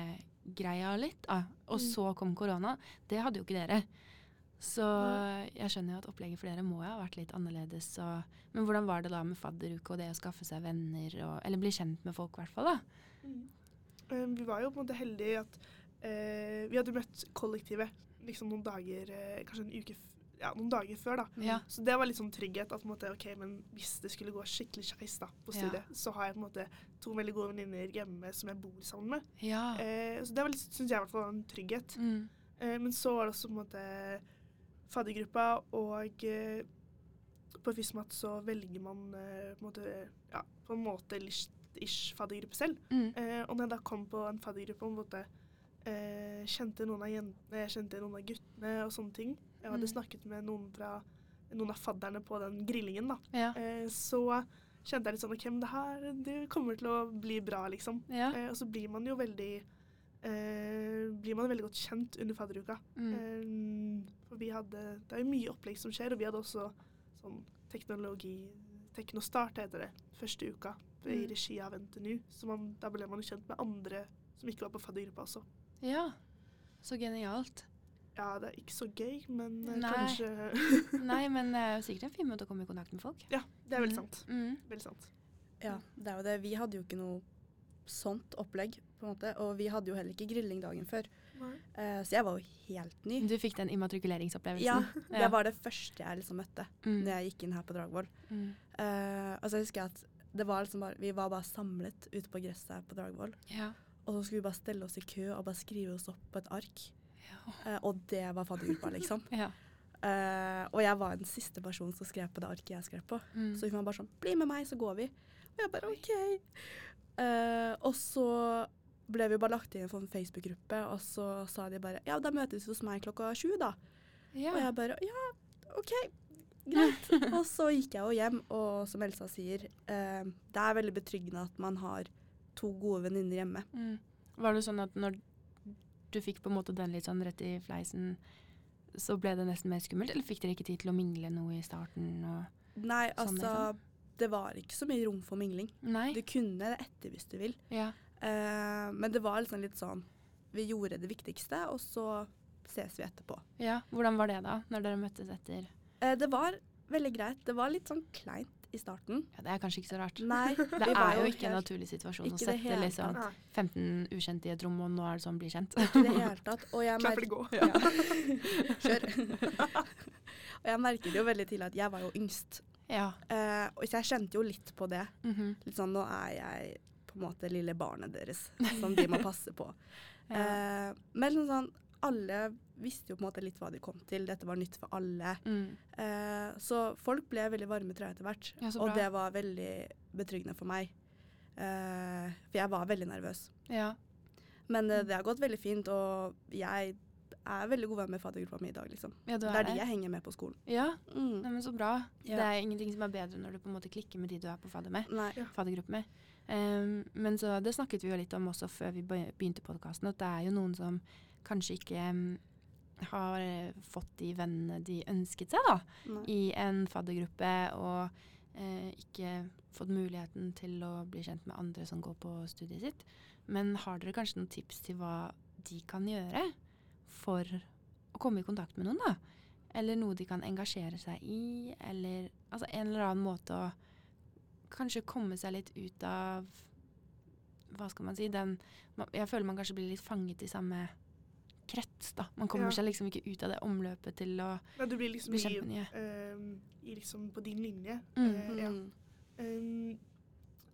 Speaker 1: studiegreia litt. da. og
Speaker 4: Mm.
Speaker 1: så kom korona. Det hadde jo ikke dere. Så jeg skjønner jo at opplegget for dere må jo ha vært litt annerledes. Og, men hvordan var det da med fadderuke og det å skaffe seg venner, og, eller bli kjent med folk i hvert fall? da?
Speaker 4: Mm. Eh, Vi var jo på en måte heldige i at eh, vi hadde møtt kollektivet liksom noen dager, eh, kanskje en uke, f ja, noen dager før da.
Speaker 1: Ja.
Speaker 4: Så det var litt sånn trygghet at på en måte, ok, men hvis det skulle gå skikkelig skeis da på
Speaker 1: Ja.
Speaker 4: studiet, så har jeg på en måte to veldig gode venninner hjemme som jeg bor sammen med.
Speaker 1: Ja.
Speaker 4: Eh, så det var litt, synes jeg i hvert fall var en trygghet.
Speaker 1: Mm.
Speaker 4: Eh, men så var det også på en måte faddergruppa og eh, på FISMAT så velger man eh, på en måte, ja, på en måte lyst ish faddergruppe selv.
Speaker 1: Mm.
Speaker 4: Eh, og når jeg da kom på en faddergruppe og på en måte, eh, kjente, noen av jentene, jeg kjente noen av guttene og sånne ting Jeg hadde
Speaker 1: Mm.
Speaker 4: snakket med noen fra noen av fadderne på den grillingen, da.
Speaker 1: Ja.
Speaker 4: Eh, så kjente jeg litt sånn OK, men det her det kommer til å bli bra, liksom.
Speaker 1: ja.
Speaker 4: Eh, og så blir man jo veldig eh, blir man veldig godt kjent under fadderuka.
Speaker 1: Mm.
Speaker 4: Eh, for vi hadde Det er jo mye opplegg som skjer, og vi hadde også sånn teknologi Teknostart heter det. Første uka i
Speaker 1: Mm.
Speaker 4: regi av NTNU. Så man, da ble man jo kjent med andre som ikke var på faddergruppa også.
Speaker 1: ja. Så genialt.
Speaker 4: Ja, det er ikke så gøy, men eh,
Speaker 1: Nei.
Speaker 4: kanskje
Speaker 1: Nei, men det er jo sikkert en fin måte å komme i kontakt med folk.
Speaker 4: Ja, det er veldig
Speaker 1: Mm.
Speaker 4: sant.
Speaker 1: Mm.
Speaker 4: Veldig sant.
Speaker 3: Ja, det er jo det. Vi hadde jo ikke noe sånt opplegg, på en måte. Og vi hadde jo heller ikke grilling dagen før. Eh, så jeg var jo helt ny.
Speaker 1: Du fikk den immatrikuleringsopplevelsen.
Speaker 3: Ja,
Speaker 1: Ja.
Speaker 3: det var det første jeg liksom møtte
Speaker 1: Mm.
Speaker 3: når jeg gikk inn her på Dragvoll.
Speaker 1: Mm.
Speaker 3: Eh, og så husker jeg at det var liksom bare, vi var bare samlet ute på gresset her på Dragvoll.
Speaker 1: Ja.
Speaker 3: Og så skulle vi bare stelle oss i kø og bare skrive oss opp på et ark.
Speaker 1: Ja.
Speaker 3: Eh, og det var faddergruppa, liksom.
Speaker 1: ja.
Speaker 3: Eh, og jeg var den siste personen som skrev på det arket jeg skrev på.
Speaker 1: Mm.
Speaker 3: Så hun var bare sånn 'Bli med meg, så går vi'. Og jeg bare OK. Eh, og så ble vi bare lagt inn i en sånn Facebook-gruppe, og så sa de bare 'Ja, da møtes vi hos meg klokka sju, da'. Og
Speaker 1: ja.
Speaker 3: jeg bare Ja, OK. Greit. og så gikk jeg jo hjem, og som Elsa sier, eh, det er veldig betryggende at man har to gode venninner hjemme.
Speaker 1: Mm. Var det sånn at når du fikk på en måte den litt sånn rett i fleisen, så ble det nesten mer skummelt, eller fikk dere ikke tid til å mingle noe i starten? Og
Speaker 3: Nei,
Speaker 1: sånn,
Speaker 3: altså Det var ikke så mye rom for mingling.
Speaker 1: Nei.
Speaker 3: Du kunne det etter hvis du vil.
Speaker 1: ja.
Speaker 3: Eh, men det var liksom litt sånn Vi gjorde det viktigste, og så ses vi etterpå.
Speaker 1: ja. Hvordan var det da, når dere møttes etter?
Speaker 3: Eh, det var veldig greit. Det var litt sånn kleint i starten.
Speaker 1: Ja, det er kanskje ikke så rart.
Speaker 3: Nei,
Speaker 1: Det er jo ikke en naturlig situasjon
Speaker 3: ikke
Speaker 1: å
Speaker 3: det
Speaker 1: sette
Speaker 3: hele
Speaker 1: liksom
Speaker 4: tatt.
Speaker 1: 15 ukjente i et rom, og nå er det sånn bli kjent.
Speaker 3: i det hele tatt. Og jeg
Speaker 4: Klapp eller gå.
Speaker 3: Ja. Kjør. og jeg merket jo veldig tidlig at jeg var jo yngst.
Speaker 1: ja.
Speaker 3: Eh, og så jeg kjente jo litt på det.
Speaker 1: Mhm.
Speaker 3: Litt sånn, nå er jeg på en måte lille barnet deres, som de må passe på.
Speaker 1: ja.
Speaker 3: Eh, men sånn, sånn, alle visste jo på en måte litt hva de kom til. Dette var nytt for alle.
Speaker 1: Mm.
Speaker 3: Eh, så folk ble veldig varme i trøya etter hvert.
Speaker 1: Ja, så
Speaker 3: og
Speaker 1: bra.
Speaker 3: det var veldig betryggende for meg. Eh, for jeg var veldig nervøs.
Speaker 1: ja.
Speaker 3: Men
Speaker 1: Mm.
Speaker 3: eh, det har gått veldig fint, og jeg er veldig god venn med faddergruppa mi i dag, liksom.
Speaker 1: Ja, du
Speaker 3: Det
Speaker 1: er
Speaker 3: er de
Speaker 1: det.
Speaker 3: jeg henger med på skolen.
Speaker 1: Ja,
Speaker 3: Mm.
Speaker 1: Nei, men så bra.
Speaker 3: Ja.
Speaker 1: Det er ingenting som er bedre når du på en måte klikker med de du er på fadder med.
Speaker 3: Nei.
Speaker 1: faddergruppe med. Ehm, men så det snakket vi jo litt om også før vi be- begynte podkasten, at det er jo noen som kanskje ikke mm, har eh, fått de vennene de ønsket seg, da,
Speaker 3: Nei.
Speaker 1: i en faddergruppe, og eh, ikke fått muligheten til å bli kjent med andre som går på studiet sitt. Men har dere kanskje noen tips til hva de kan gjøre for å komme i kontakt med noen, da? Eller noe de kan engasjere seg i, eller altså en eller annen måte å kanskje komme seg litt ut av Hva skal man si? Den man, Jeg føler man kanskje blir litt fanget i samme krets, da. Man kommer
Speaker 4: Ja.
Speaker 1: seg liksom ikke ut av det omløpet til å
Speaker 4: Nei, du blir liksom
Speaker 1: bli
Speaker 4: i,
Speaker 1: kjent med nye.
Speaker 4: eh, i liksom på din linje.
Speaker 1: Mm.
Speaker 4: Eh, ja.
Speaker 3: Mm.
Speaker 4: Eh,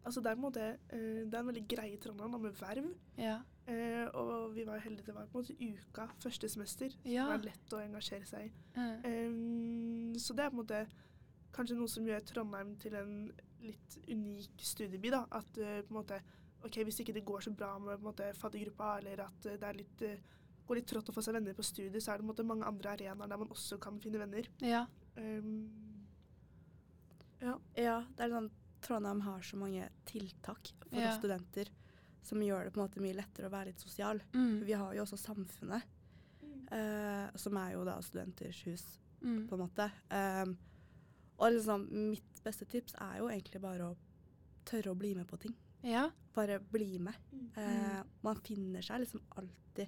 Speaker 4: altså det er på en måte eh, Det er en veldig greie i Trondheim da, med verv.
Speaker 1: Ja.
Speaker 4: Eh, og vi var jo heldige, det var på en måte uka første semester.
Speaker 1: Ja.
Speaker 4: Det var lett å engasjere seg i.
Speaker 1: Mm.
Speaker 4: Eh, så det er på en måte kanskje noe som gjør Trondheim til en litt unik studieby. da, At eh, på en måte, ok, hvis ikke det går så bra med på en måte, fattiggruppa, eller at eh, det er litt, eh, går litt trått å få seg venner på studiet, så er det på en måte mange andre arenaer der man også kan finne venner.
Speaker 1: Ja.
Speaker 4: Eh,
Speaker 3: Ja, det er sånn Trondheim har så mange tiltak for
Speaker 1: Ja.
Speaker 3: oss studenter som gjør det på en måte mye lettere å være litt sosial.
Speaker 1: Mm.
Speaker 3: Vi har jo også Samfunnet, eh, som er jo da studenters hus,
Speaker 1: Mm.
Speaker 3: på en måte. Um, og liksom, mitt beste tips er jo egentlig bare å tørre å bli med på ting.
Speaker 1: Ja.
Speaker 3: Bare bli med.
Speaker 4: Mm.
Speaker 3: Eh, man finner seg liksom alltid,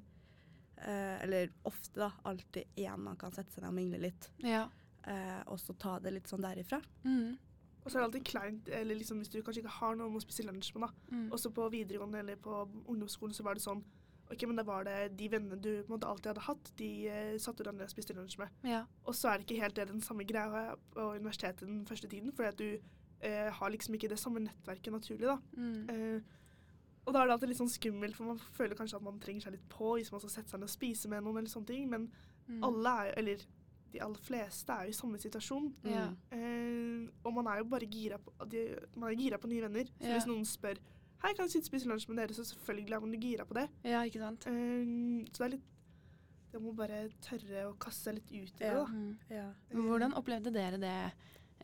Speaker 3: eh, eller ofte da, alltid en man kan sette seg ned og mingle litt.
Speaker 1: Ja.
Speaker 3: eh, og så ta det litt sånn derifra.
Speaker 1: Mm.
Speaker 4: Og så er det alltid kleint, eller liksom hvis du kanskje ikke har noen å spise lunsj med, da.
Speaker 1: Mm.
Speaker 4: Også på videregående eller på ungdomsskolen så var det sånn OK, men da var det de vennene du på en måte alltid hadde hatt, de eh, satt du deg ned og spiste lunsj med.
Speaker 1: Ja.
Speaker 4: Og så er det ikke helt det den samme greia på universitetet den første tiden, fordi at du eh, har liksom ikke det samme nettverket naturlig, da.
Speaker 1: Mm.
Speaker 4: Eh, og da er det alltid litt sånn skummelt, for man føler kanskje at man trenger seg litt på hvis man skal sette seg ned og spise med noen eller sånne ting, men
Speaker 1: Mm.
Speaker 4: alle er jo, eller de aller fleste er jo i samme situasjon.
Speaker 1: Ja.
Speaker 3: Mm.
Speaker 4: Eh, og man er jo bare gira på, de, man er gira på nye venner. Så
Speaker 1: Ja.
Speaker 4: hvis noen spør Hei, kan jeg sitte og spise lunsj med dere? Så selvfølgelig er man gira på det.
Speaker 1: Ja, ikke sant?
Speaker 4: Eh, så det er litt Det må bare tørre å kaste seg litt ut i
Speaker 3: Ja.
Speaker 4: det, da.
Speaker 1: Mm.
Speaker 3: Ja.
Speaker 1: Men hvordan opplevde dere det?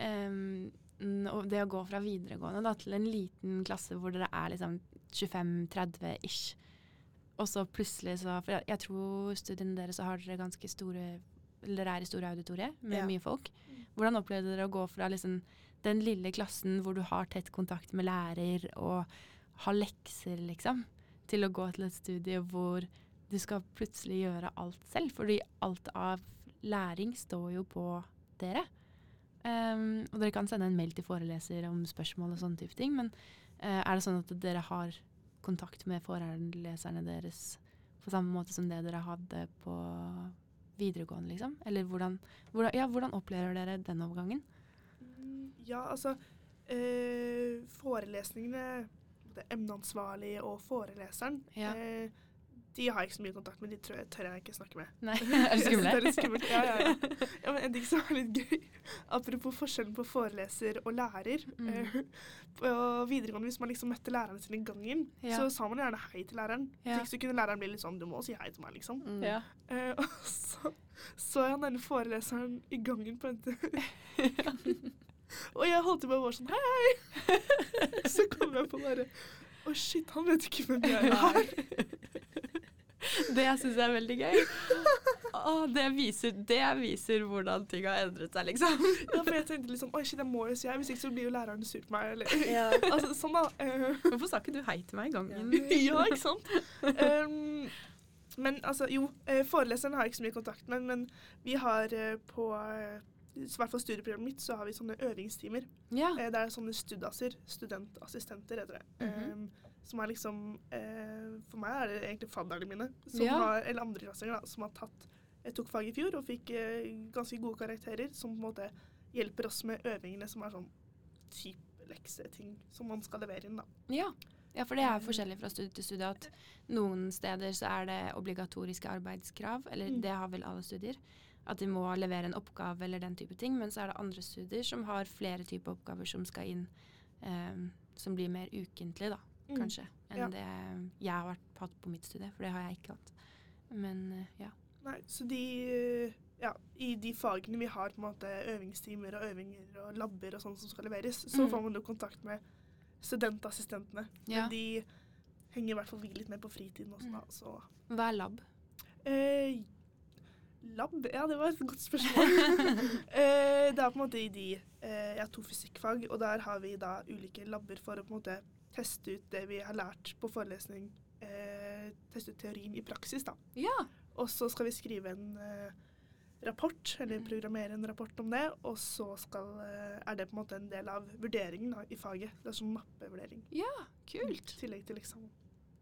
Speaker 1: em, n- og det å gå fra videregående da, til en liten klasse hvor dere er liksom 25-30 ish. Og så plutselig så For jeg, jeg tror studiene deres så har dere ganske store eller dere er i store auditorier med
Speaker 3: Ja.
Speaker 1: mye folk. Hvordan opplevde dere å gå fra liksom den lille klassen hvor du har tett kontakt med lærer og har lekser, liksom, til å gå til et studie hvor du skal plutselig gjøre alt selv? Fordi alt av læring står jo på dere. Ehm, og dere kan sende en mail til foreleser om spørsmål og sånne type ting, men eh, er det sånn at dere har kontakt med foreleserne deres på samme måte som det dere hadde på videregående, liksom? Eller hvordan, hvordan, ja, hvordan opplever dere den overgangen?
Speaker 4: Mm, Ja, altså eh, Forelesningene, det emneansvarlig og foreleseren,
Speaker 1: Ja.
Speaker 4: eh, de har jeg ikke så mye kontakt med. De tror jeg, tør jeg ikke snakke med.
Speaker 1: Nei, er det
Speaker 4: Jeg synes Det er
Speaker 1: skumle?
Speaker 4: litt skummelt. Ja, ja, ja. ja, men En ting som er litt gøy, apropos forskjellen på foreleser og lærer.
Speaker 1: Mm.
Speaker 4: eh, På videregående, hvis man liksom møtte læreren sin i gangen,
Speaker 1: Ja.
Speaker 4: så sa man gjerne hei til læreren.
Speaker 1: Ja.
Speaker 4: Så ikke så kunne læreren bli litt sånn 'du må si hei til meg', liksom.
Speaker 3: Mm.
Speaker 1: Ja.
Speaker 4: Eh, og så så jeg han denne foreleseren i gangen på NTNU. og jeg holdt på å være sånn hei, hei. så kom jeg på bare å shit, han vet ikke hvem jeg er.
Speaker 1: Det syns jeg er veldig gøy. Å, det, viser, det viser hvordan ting har endret seg, liksom.
Speaker 4: Ja, for jeg tenkte liksom oi shit, jeg må jo si hei, hvis ikke så blir jo læreren sur på meg. Eller.
Speaker 3: Ja.
Speaker 4: Altså sånn, da. Eh,
Speaker 1: Hvorfor sa ikke du hei til meg i gangen?
Speaker 4: ja, ikke sant? Ehm, men altså, jo, eh, foreleseren har jeg ikke så mye kontakt med, men vi har eh, på eh, i hvert fall studieprogrammet mitt, så har vi sånne øvingstimer.
Speaker 1: Ja.
Speaker 4: Eh, Det er sånne studaser, studentassistenter heter det.
Speaker 1: Mhm.
Speaker 4: eh, som er liksom eh, For meg er det egentlig fadderne mine, som
Speaker 1: Ja.
Speaker 4: har, eller andreklassinger, da, som har tatt Jeg tok fag i fjor og fikk eh, ganske gode karakterer, som på en måte hjelper oss med øvingene som er sånn type lekseting som man skal levere inn, da.
Speaker 1: Ja. ja, for det er forskjellig fra studie til studie. At noen steder så er det obligatoriske arbeidskrav, eller
Speaker 4: Mm.
Speaker 1: det har vel alle studier. At de må levere en oppgave eller den type ting. Men så er det andre studier som har flere typer oppgaver som skal inn, eh, som blir mer ukentlig, da,
Speaker 4: Mm.
Speaker 1: kanskje. Enn
Speaker 4: Ja.
Speaker 1: det jeg har vært, hatt på mitt studie, for det har jeg ikke hatt. Men eh, ja.
Speaker 4: Nei, så de eh, ja, I de fagene vi har på en måte øvingstimer og øvinger og labber og sånn som skal leveres, så
Speaker 1: Mm.
Speaker 4: får man jo kontakt med studentassistentene.
Speaker 1: Ja. Mm.
Speaker 4: Men de henger i hvert fall vi litt med på fritiden også, da. Så.
Speaker 1: Hva er lab?
Speaker 4: Eh, lab? Ja, det var et godt spørsmål. eh, det er på en måte i de eh, Jeg har to fysikkfag, og der har vi da ulike labber for å på en måte teste ut det vi har lært på forelesning. Eh, teste ut teorien i praksis, da.
Speaker 1: Ja.
Speaker 4: Og så skal vi skrive en eh, rapport,
Speaker 3: Mm.
Speaker 4: eller programmere en rapport om det. Og så skal, eh, er det på en måte en del av vurderingen da, i faget. Det er sånn mappevurdering.
Speaker 1: Kult.
Speaker 4: I tillegg til eksamen.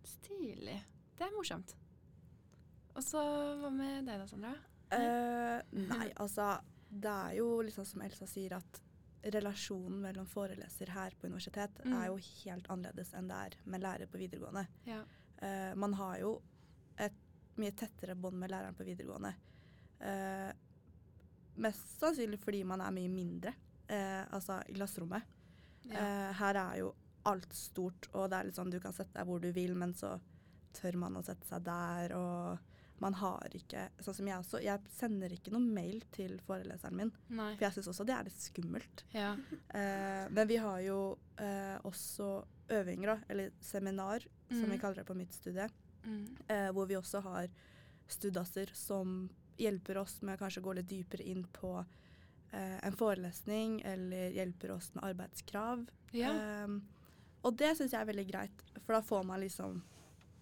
Speaker 1: Stilig. Det er morsomt. Og så hva med deg da, Sandra?
Speaker 3: Eh, nei, altså Det er jo liksom som Elsa sier, at relasjonen mellom foreleser her på universitet
Speaker 1: Mm.
Speaker 3: er jo helt annerledes enn det er med lærer på videregående.
Speaker 1: Ja.
Speaker 3: Eh, man har jo et mye tettere bånd med læreren på videregående. Eh, mest sannsynlig fordi man er mye mindre, eh, altså i klasserommet. Eh, her er jo alt stort, og det er litt sånn du kan sette deg hvor du vil, men så tør man å sette seg der, og man har ikke Sånn som jeg også, jeg sender ikke noen mail til foreleseren min,
Speaker 1: Nei.
Speaker 3: for jeg syns også det er litt skummelt.
Speaker 1: Ja.
Speaker 3: Eh, men vi har jo eh, også øvinger, da, eller seminar, som vi
Speaker 1: Mm.
Speaker 3: kaller det på mitt studie,
Speaker 1: Mm.
Speaker 3: eh, hvor vi også har studasser som hjelper oss med å kanskje gå litt dypere inn på eh, en forelesning, eller hjelper oss med arbeidskrav.
Speaker 1: Ja.
Speaker 3: Ehm, og det syns jeg er veldig greit, for da får man liksom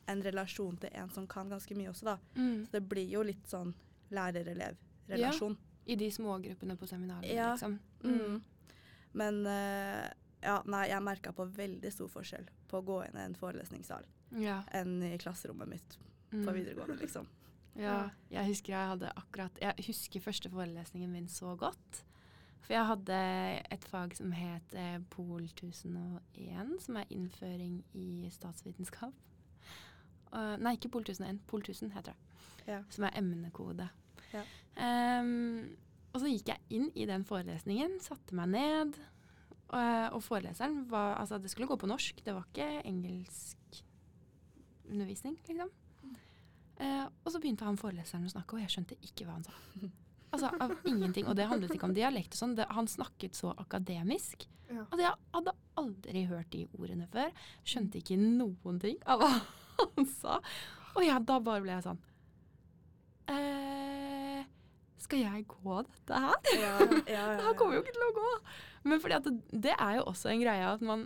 Speaker 3: en relasjon til en som kan ganske mye også, da.
Speaker 1: Mm.
Speaker 3: Så det blir jo litt sånn lærer-elev-relasjon.
Speaker 1: I de smågruppene på seminaret,
Speaker 3: Ja.
Speaker 1: liksom.
Speaker 3: Mm. Men eh, ja, nei, jeg merka på veldig stor forskjell på å gå inn i en forelesningssal
Speaker 1: Ja.
Speaker 3: enn i klasserommet mitt
Speaker 1: Mm.
Speaker 3: på videregående, liksom.
Speaker 1: Ja. Jeg husker jeg hadde akkurat Jeg husker første forelesningen min så godt. For jeg hadde et fag som het eh, Pol 1001, som er innføring i statsvitenskap. Og- nei, ikke Pol 1001. Pol 1000 heter det.
Speaker 3: Ja.
Speaker 1: Som er emnekode.
Speaker 3: Ja.
Speaker 1: Ehm, og så gikk jeg inn i den forelesningen, satte meg ned, Eh, og foreleseren var Altså, det skulle gå på norsk, det var ikke engelsk undervisning, liksom. Eh, og så begynte han foreleseren å snakke, og jeg skjønte ikke hva han sa. Altså, av ingenting. Og det handlet ikke om dialekt og sånn. Det, han snakket så akademisk.
Speaker 4: Ja.
Speaker 1: Altså, jeg hadde aldri hørt de ordene før. Skjønte ikke noen ting av hva han sa. Og ja, da bare ble jeg sånn eh, Skal jeg gå dette her?
Speaker 3: Ja, ja, ja,
Speaker 1: Han kommer jo ikke til å gå. Men fordi at det, det er jo også en greie at man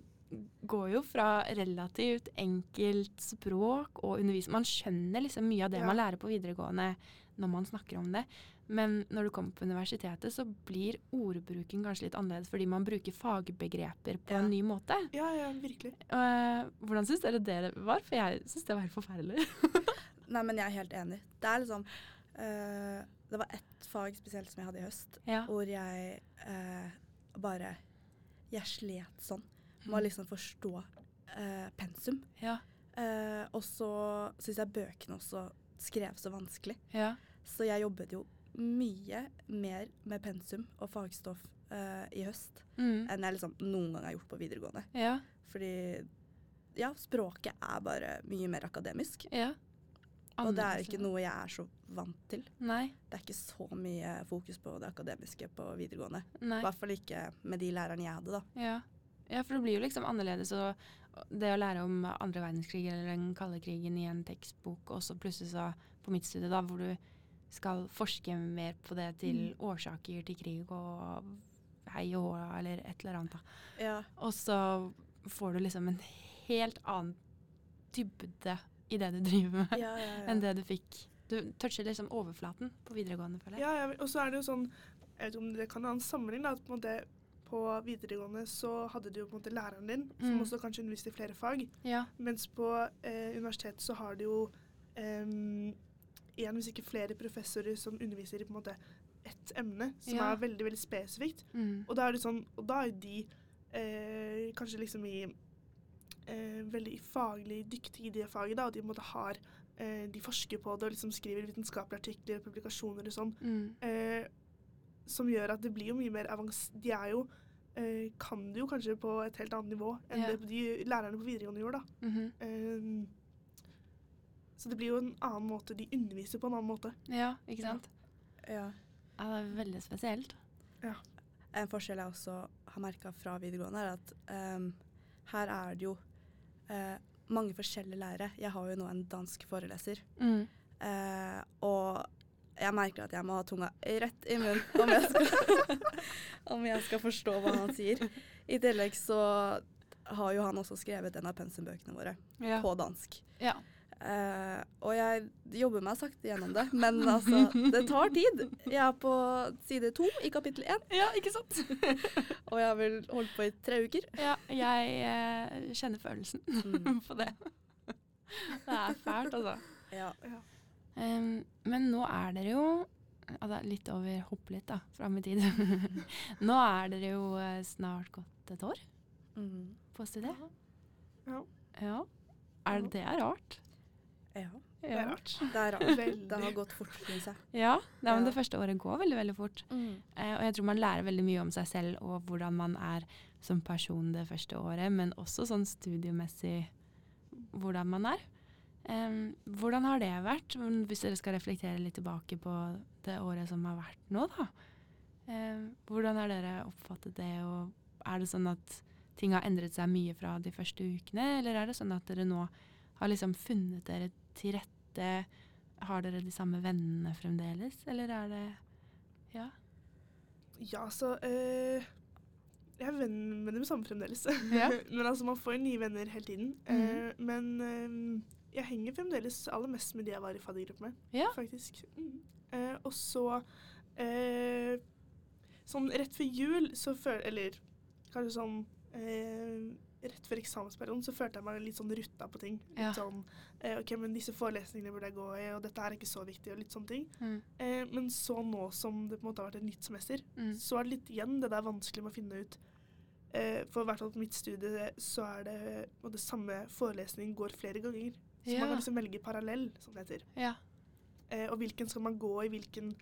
Speaker 1: går jo fra relativt enkelt språk og undervisning. Man skjønner liksom mye av det
Speaker 4: Ja.
Speaker 1: man lærer på videregående når man snakker om det. Men når du kommer på universitetet, så blir ordbruken kanskje litt annerledes fordi man bruker fagbegreper på
Speaker 3: Ja.
Speaker 1: en ny måte.
Speaker 4: Ja, ja, virkelig.
Speaker 1: Eh, hvordan syns dere det var? For jeg syns det var helt forferdelig.
Speaker 3: Nei, men jeg er helt enig. Det er liksom eh, Det var ett fag spesielt som jeg hadde i høst,
Speaker 1: Ja.
Speaker 3: hvor jeg eh, bare Jeg slet sånn
Speaker 1: Mm.
Speaker 3: med å liksom forstå eh, pensum.
Speaker 1: Ja.
Speaker 3: Eh, og så syns jeg bøkene også skrev så vanskelig.
Speaker 1: Ja.
Speaker 3: Så jeg jobbet jo mye mer med pensum og fagstoff eh, i høst
Speaker 1: Mm.
Speaker 3: enn jeg liksom noen gang har gjort på videregående.
Speaker 1: ja.
Speaker 3: Fordi ja, språket er bare mye mer akademisk.
Speaker 1: Ja.
Speaker 3: Og det er ikke
Speaker 1: Annerledes.
Speaker 3: noe jeg er så vant til.
Speaker 1: Nei.
Speaker 3: Det er ikke så mye fokus på det akademiske på videregående.
Speaker 1: Nei.
Speaker 3: I hvert fall ikke med de lærerne jeg hadde, da.
Speaker 1: Ja. ja, for det blir jo liksom annerledes. Og og det å lære om andre verdenskrig eller den kalde krigen i en tekstbok, og så plutselig så på mitt studie, da, hvor du skal forske mer på det til årsaker til krig og hei og hå, eller et eller annet. da.
Speaker 3: Ja.
Speaker 1: Og så får du liksom en helt annen dybde i det du driver med,
Speaker 3: Ja, ja,
Speaker 1: enn det du fikk. Du toucher liksom overflaten på videregående, føler jeg.
Speaker 4: Ja, ja, og så er det jo sånn Jeg vet ikke om det kan ha en sammenheng, da. At på, en måte, på videregående så hadde du jo på en måte læreren din, som
Speaker 1: Mm.
Speaker 4: også kanskje underviste i flere fag.
Speaker 1: Ja.
Speaker 4: Mens på eh, universitetet så har du jo én, hvis ikke flere, professorer som underviser i på en måte ett emne, som
Speaker 1: Ja.
Speaker 4: er veldig, veldig spesifikt.
Speaker 1: Mm.
Speaker 4: Og da er det sånn, og da er de eh, kanskje liksom i eh, veldig faglig dyktige i det faget, da, og de på en måte har eh, De forsker på det og liksom skriver vitenskapelige artikler og publikasjoner og sånn,
Speaker 1: Mm.
Speaker 4: eh, som gjør at det blir jo mye mer avans... De er jo eh, Kan det jo kanskje på et helt annet nivå enn
Speaker 1: Ja.
Speaker 4: det de lærerne på videregående gjorde, da.
Speaker 1: Mhm.
Speaker 4: Eh, så det blir jo en annen måte. De underviser på en annen måte.
Speaker 1: ja, ikke sant?
Speaker 3: ja.
Speaker 1: Ja, det er veldig spesielt.
Speaker 3: En forskjell jeg også har merka fra videregående, er at ehm, her er det jo eh, mange forskjellige lærere. Jeg har jo nå en dansk foreleser,
Speaker 1: Mm.
Speaker 3: eh, og jeg merker at jeg må ha tunga rett i munnen om jeg skal, om jeg skal forstå hva han sier. I tillegg så har jo han også skrevet en av pensumbøkene våre
Speaker 1: Ja.
Speaker 3: på dansk.
Speaker 1: ja.
Speaker 3: Eh, og jeg jobber meg sakte gjennom det, men altså, det tar tid. Jeg er på side to i kapittel én.
Speaker 1: Ja, ikke sant?
Speaker 3: Og jeg har vel holdt på i tre uker.
Speaker 1: Ja, jeg eh, kjenner følelsen på det. Det er fælt, altså.
Speaker 3: Ja.
Speaker 1: Em, men nå er dere jo altså, Litt over hopp litt, da, fram i tid. nå er dere jo eh, snart gått et år på studiet.
Speaker 4: Ja.
Speaker 1: Ja. Er det, det er rart?
Speaker 3: ja.
Speaker 4: Det er rart.
Speaker 3: Det er rart.
Speaker 4: Veldig.
Speaker 3: Det har gått fort, syns jeg.
Speaker 1: Ja, nei, men
Speaker 3: Ja.
Speaker 1: Det første året går veldig veldig fort. Eh, og jeg tror man lærer veldig mye om seg selv og hvordan man er som person det første året, men også sånn studiemessig hvordan man er. Em, hvordan har det vært, Mm, hvis dere skal reflektere litt tilbake på det året som har vært nå, da? Em, hvordan har dere oppfattet det, og er det sånn at ting har endret seg mye fra de første ukene, eller er det sånn at dere nå har liksom funnet dere til rette? Har dere de samme vennene fremdeles, eller er det Ja.
Speaker 4: Ja, så eh, Jeg er venn med dem samme fremdeles.
Speaker 1: Ja.
Speaker 4: men altså, man får jo nye venner hele tiden.
Speaker 1: Mhm.
Speaker 4: Eh, men eh, jeg henger fremdeles aller mest med de jeg var i faddergruppe med,
Speaker 1: Ja.
Speaker 4: faktisk. Mm. Eh, og så eh, Sånn rett før jul så føler Eller kanskje sånn eh, Rett før eksamensperioden så følte jeg meg litt sånn rutta på ting. Litt
Speaker 1: Ja.
Speaker 4: sånn eh, OK, men disse forelesningene burde jeg gå i, og dette er ikke så viktig, og litt sånne ting.
Speaker 1: Mm.
Speaker 4: Eh, men så nå som det på en måte har vært et nytt semester,
Speaker 1: Mm.
Speaker 4: så er det litt igjen det der vanskelig med å finne ut. Eh, for i hvert fall på mitt studie så er det og det samme forelesning går flere ganger. Så man
Speaker 1: Ja.
Speaker 4: kan liksom velge parallell, som det heter.
Speaker 1: Ja.
Speaker 4: Eh, og hvilken skal man gå i, hvilken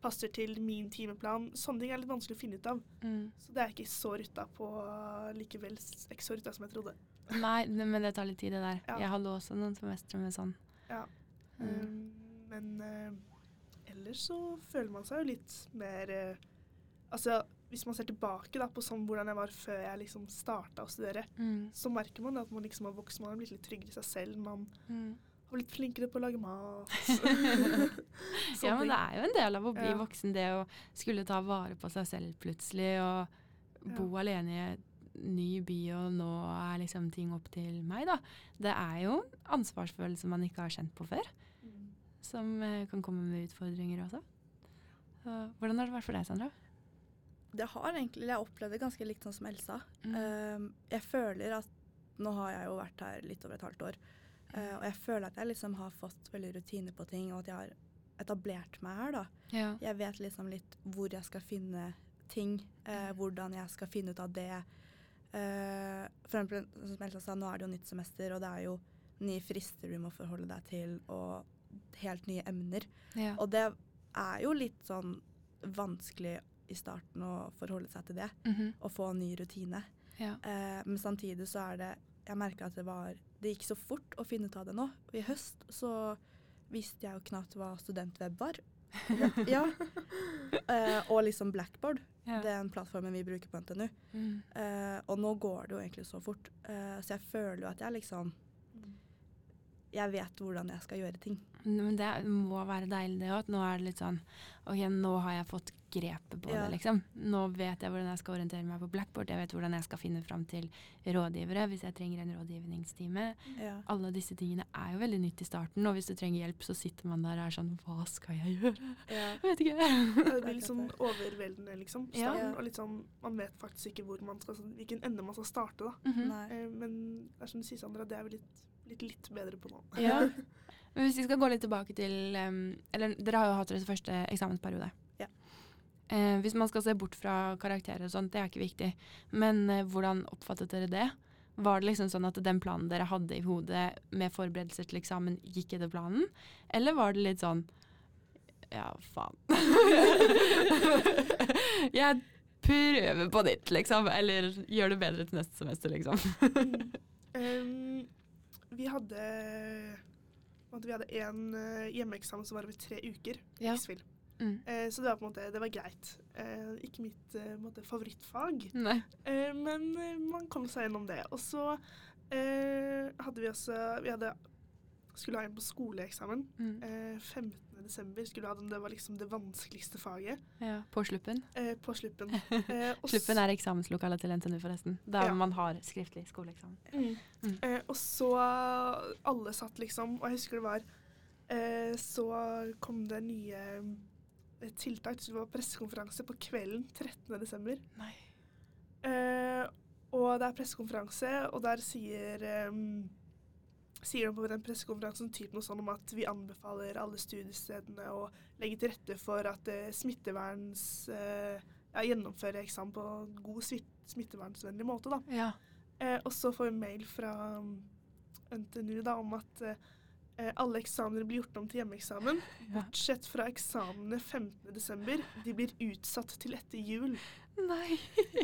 Speaker 4: passer til min timeplan. Sånne ting er litt vanskelig å finne ut av.
Speaker 1: Mm.
Speaker 4: Så det er ikke så rutta på likevel s- ikke så rutta som jeg trodde.
Speaker 1: Nei, det- men det tar litt tid, det der.
Speaker 4: Ja.
Speaker 1: Jeg hadde også noen semestre med sånn.
Speaker 4: Ja.
Speaker 1: Mm.
Speaker 4: Um, Men eh, ellers så føler man seg jo litt mer eh, Altså, hvis man ser tilbake da, på sånn hvordan jeg var før jeg liksom starta å studere,
Speaker 1: Mm.
Speaker 4: så merker man at man liksom har vokst, man har blitt litt tryggere i seg selv, man
Speaker 1: Mm.
Speaker 4: har blitt flinkere på å lage mat.
Speaker 1: Ja, men det
Speaker 4: ting.
Speaker 1: er jo en del av å bli
Speaker 4: Ja.
Speaker 1: voksen, det å skulle ta vare på seg selv plutselig, og bo alene i en ny by, og nå er liksom ting opp til meg, da. Det er jo en ansvarsfølelse man ikke har kjent på før,
Speaker 4: Mm.
Speaker 1: som eh, kan komme med utfordringer også. Så, hvordan har det vært for deg, Sandra?
Speaker 3: Det har egentlig, eller Jeg opplevde det ganske likt sånn som Elsa.
Speaker 1: Mm.
Speaker 3: Um, jeg føler at Nå har jeg jo vært her litt over et halvt år.
Speaker 1: Mm.
Speaker 3: eh, og jeg føler at jeg liksom har fått veldig rutine på ting, og at jeg har etablert meg her. da.
Speaker 1: ja.
Speaker 3: Jeg vet liksom litt hvor jeg skal finne ting, eh, hvordan jeg skal finne ut av det. Eh, for eksempel, som Elsa sa, nå er det jo nytt semester, og det er jo nye frister du må forholde deg til, og helt nye emner.
Speaker 1: ja.
Speaker 3: Og det er jo litt sånn vanskelig i starten å forholde seg til det,
Speaker 1: Mhm.
Speaker 3: og få en ny rutine.
Speaker 1: ja.
Speaker 3: Eh, men samtidig så er det Jeg merka at det var Det gikk så fort å finne ut av det nå. Og i høst så visste jeg jo knapt hva studentweb var. ja. Eh, og liksom Blackboard.
Speaker 1: Ja.
Speaker 3: Den plattformen vi bruker på NTNU.
Speaker 1: Mm.
Speaker 3: Eh, og nå går det jo egentlig så fort. Eh, så jeg føler jo at jeg liksom Jeg vet hvordan jeg skal gjøre ting.
Speaker 1: Men det må være deilig det òg, at nå er det litt sånn OK, nå har jeg fått grepet på
Speaker 3: Ja.
Speaker 1: det, liksom. Nå vet jeg hvordan jeg skal orientere meg på blackboard, jeg vet hvordan jeg skal finne fram til rådgivere hvis jeg trenger en rådgivningstime.
Speaker 3: Ja.
Speaker 1: Alle disse tingene er jo veldig nytt i starten, og hvis du trenger hjelp, så sitter man der og er sånn Hva skal jeg gjøre?
Speaker 3: Ja.
Speaker 1: Jeg vet ikke. Mhm.
Speaker 4: Det blir litt sånn overveldende, liksom.
Speaker 1: Ja.
Speaker 4: Starten, og litt sånn, Man vet faktisk ikke hvor man skal, sånn, hvilken ende man skal starte. da.
Speaker 1: Mhm.
Speaker 3: Nei.
Speaker 4: Eh, Men det er som du sier, Sandra, det er vi litt, litt, litt bedre på nå.
Speaker 1: Ja. Men hvis vi skal gå litt tilbake til em, Eller dere har jo hatt deres første eksamensperiode.
Speaker 3: Ja.
Speaker 1: Eh, hvis man skal se bort fra karakterer og sånt, det er ikke viktig. Men eh, hvordan oppfattet dere det? Var det liksom sånn at den planen dere hadde i hodet med forberedelser til eksamen, gikk etter planen? Eller var det litt sånn Ja, faen. Jeg prøver på nytt, liksom. Eller gjør det bedre til neste semester, liksom.
Speaker 4: Um, vi hadde på en måte, Vi hadde en eh, hjemmeeksamen som var over tre uker.
Speaker 1: Ja.
Speaker 4: Riksfil.
Speaker 1: Mm.
Speaker 4: Eh, så det var på en måte, det var greit. Eh, ikke mitt eh, på en måte, favorittfag,
Speaker 1: Nei.
Speaker 4: eh, men eh, man kom seg gjennom det. Og så eh, hadde vi også Vi hadde, skulle ha en på skoleeksamen.
Speaker 1: Mm.
Speaker 4: Eh, 15. desember skulle vi ha den. Det var liksom det vanskeligste faget.
Speaker 1: Ja. På sluppen.
Speaker 4: Eh, på sluppen. Eh, og
Speaker 1: Sluppen er eksamenslokalet til NTNU, forresten. Der
Speaker 4: Ja.
Speaker 1: man har skriftlig skoleeksamen.
Speaker 4: Mm.
Speaker 1: Mm.
Speaker 4: Eh, og så Alle satt liksom, og jeg husker det var eh, Så kom det nye eh, tiltak. Det var pressekonferanse på kvelden 13. desember.
Speaker 1: Nei.
Speaker 4: Eh, og det er pressekonferanse, og der sier eh, Sier de på den pressekonferansen typ noe sånn om at vi anbefaler alle studiestedene å legge til rette for at eh, smitteverns... Eh, ja, gjennomføre eksamen på en god smitt- smittevernsvennlig måte, da.
Speaker 1: Ja.
Speaker 4: Eh, og så får vi mail fra um, NTNU da, om at eh, alle eksamener blir gjort om til hjemmeeksamen. Bortsett fra eksamenene 15.12. De blir utsatt til etter jul.
Speaker 1: Nei.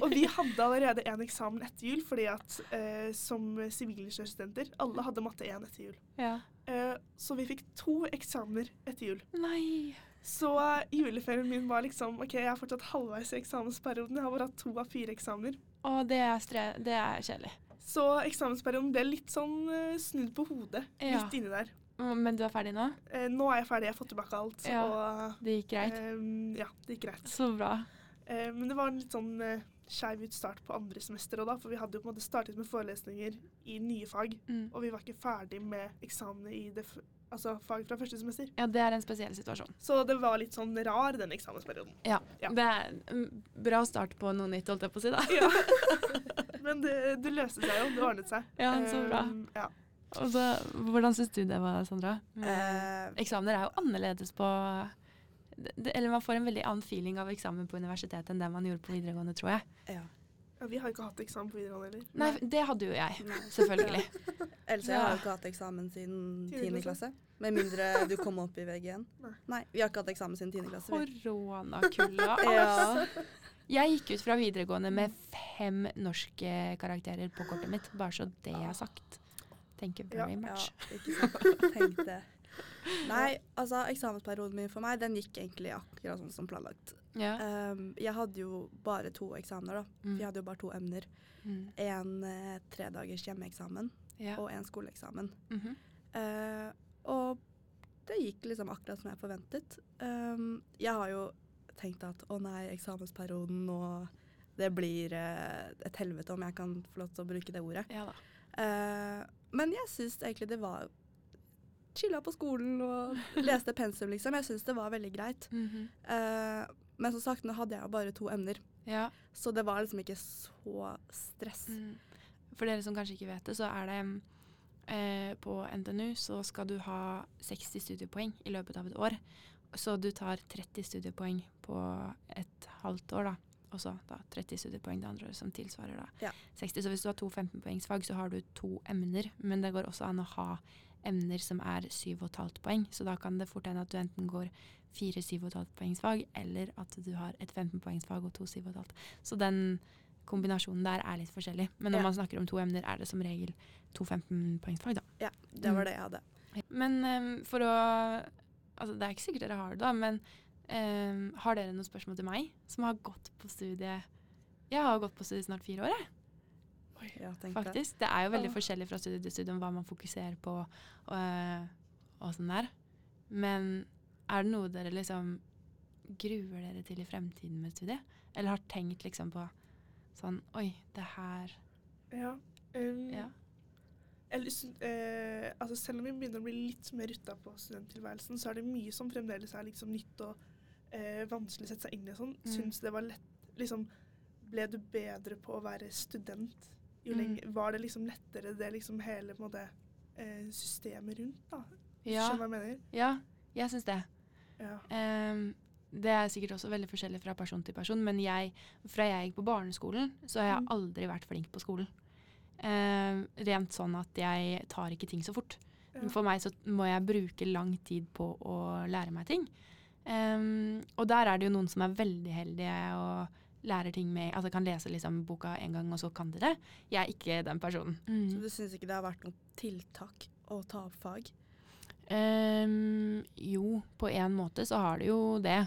Speaker 4: Og vi hadde allerede en eksamen etter jul, fordi at eh, som sivilingeniørstudenter Alle hadde matte 1 etter jul.
Speaker 1: Ja.
Speaker 4: Eh, så vi fikk to eksamener etter jul.
Speaker 1: Nei.
Speaker 4: Så eh, juleferien min var liksom OK, jeg er fortsatt halvveis i eksamensperioden. Jeg har bare hatt to av fire eksamener.
Speaker 1: Å, det er, stre det er kjedelig.
Speaker 4: Så eksamensperioden ble litt sånn eh, snudd på hodet.
Speaker 1: Ja.
Speaker 4: Litt inni der.
Speaker 1: Å, Men du er ferdig nå?
Speaker 4: Eh, nå er jeg ferdig, jeg har fått tilbake alt.
Speaker 1: Ja.
Speaker 4: Og
Speaker 1: Det gikk greit?
Speaker 4: ehm, ja, det gikk greit.
Speaker 1: Så bra.
Speaker 4: Eh, men det var en litt sånn uh, skeiv utstart på andre semester òg, da. For vi hadde jo på en måte startet med forelesninger i nye fag.
Speaker 1: Mm.
Speaker 4: Og vi var ikke ferdig med eksamen i det f altså fag fra første semester.
Speaker 1: Ja, det er en spesiell situasjon.
Speaker 4: Så det var litt sånn rar, den eksamensperioden.
Speaker 1: Ja.
Speaker 4: Ja.
Speaker 1: Det er en bra start på noe nytt, holdt jeg på å si, da.
Speaker 4: Ja. men det, det løste seg jo. Det ordnet seg.
Speaker 1: Ja, så bra.
Speaker 4: Ehm, ja.
Speaker 1: Og så, hvordan syns du det var, Sandra? Mm.
Speaker 3: Eh,
Speaker 1: Eksamener er jo annerledes på det, Eller man får en veldig annen feeling av eksamen på universitetet enn det man gjorde på videregående, tror jeg.
Speaker 3: Eh, Ja.
Speaker 4: Ja, vi har jo ikke hatt eksamen på videregående heller.
Speaker 1: Nei,
Speaker 3: Nei.
Speaker 1: det hadde jo jeg.
Speaker 3: Nei.
Speaker 1: Selvfølgelig.
Speaker 3: Ellers
Speaker 1: Ja.
Speaker 3: jeg har jo ikke hatt eksamen siden
Speaker 4: Tiende
Speaker 3: 10. klasse. Med mindre du kom opp i VG1.
Speaker 4: Nei.
Speaker 3: Nei, vi har ikke hatt eksamen siden 10. klasse. vi.
Speaker 1: Koronakulda.
Speaker 3: Ja.
Speaker 1: Jeg gikk ut fra videregående med fem norske karakterer på kortet mitt, bare så det er sagt. Tenker very
Speaker 3: ja,
Speaker 1: much.
Speaker 3: ikke sant. Tenkte. Nei, altså eksamensperioden min for meg, den gikk egentlig akkurat sånn som planlagt.
Speaker 1: Ja.
Speaker 3: Ehm, jeg hadde jo bare to eksamener, da. For jeg hadde jo bare to emner.
Speaker 1: Mm.
Speaker 3: En eh, tredagers hjemmeeksamen
Speaker 1: Ja.
Speaker 3: og en skoleeksamen.
Speaker 1: Mhm.
Speaker 3: Eh, og det gikk liksom akkurat som jeg forventet. Um, jeg har jo tenkt at å nei, eksamensperioden og det blir eh, et helvete om jeg kan få lov til å bruke det ordet.
Speaker 1: ja da.
Speaker 3: Eh, men jeg syns egentlig det var Chilla på skolen og leste pensum, liksom. Jeg syns det var veldig greit.
Speaker 1: Mhm.
Speaker 3: Eh, men som sagt, nå hadde jeg jo bare to emner,
Speaker 1: Ja.
Speaker 3: så det var liksom ikke så stress.
Speaker 1: Mm. For dere som kanskje ikke vet det, så er det mm, eh, På NTNU så skal du ha 60 studiepoeng i løpet av et år. Så du tar 30 studiepoeng på et halvt år, da. Og så da 30 studiepoeng det andre året, som tilsvarer da
Speaker 3: Ja.
Speaker 1: 60. Så hvis du har to 15-poengsfag, så har du to emner. Men det går også an å ha emner som er 7,5 poeng, så da kan det fort hende at du enten går fire 7,5-poengsfag, eller at du har et 15-poengsfag og to 7,5. Så den kombinasjonen der er litt forskjellig. Men når
Speaker 3: Ja.
Speaker 1: man snakker om to emner, er det som regel to 15-poengsfag, da.
Speaker 3: Ja, det
Speaker 1: Mm.
Speaker 3: var det jeg hadde.
Speaker 1: Men eh, for å Altså, det er ikke sikkert dere har det, da, men eh, har dere noen spørsmål til meg som har gått på studiet Jeg har gått på studiet snart fire år, jeg,
Speaker 3: Ja, tenkte jeg.
Speaker 1: faktisk. Det er jo veldig
Speaker 4: Åh.
Speaker 1: forskjellig fra studie til studie om hva man fokuserer på og, eh, og sånn der. Men er det noe dere liksom gruer dere til i fremtiden med studiet? Eller har tenkt liksom på sånn Oi, det her
Speaker 4: Ja. Um,
Speaker 1: Ja.
Speaker 4: Jeg har lyst til- eh, altså selv om vi begynner å bli litt mer rutta på studenttilværelsen, så er det mye som fremdeles er liksom nytt og eh, vanskelig å sette seg inn i. og sånn.
Speaker 1: Mm.
Speaker 4: Syns det var lett liksom, Ble du bedre på å være student? Jo
Speaker 1: Mm.
Speaker 4: lenge, var det liksom lettere, det liksom hele på en måte, eh, systemet rundt? da?
Speaker 1: Ja,
Speaker 4: Skjønner du hva jeg mener?
Speaker 1: ja jeg syns det.
Speaker 4: Ja.
Speaker 1: Ehm, det er sikkert også veldig forskjellig fra person til person, men jeg, fra jeg gikk på barneskolen, så har jeg
Speaker 4: Mm.
Speaker 1: aldri vært flink på skolen. Ehm, rent sånn at jeg tar ikke ting så fort.
Speaker 4: Ja.
Speaker 1: For meg så må jeg bruke lang tid på å lære meg ting. Ehm, og der er det jo noen som er veldig heldige og lærer ting med Altså kan lese liksom boka en gang, og så kan de det. Jeg er ikke den personen.
Speaker 4: Mm.
Speaker 3: Så du syns ikke det har vært noe tiltak å ta opp fag?
Speaker 1: Ehm, jo, på en måte så har du jo det.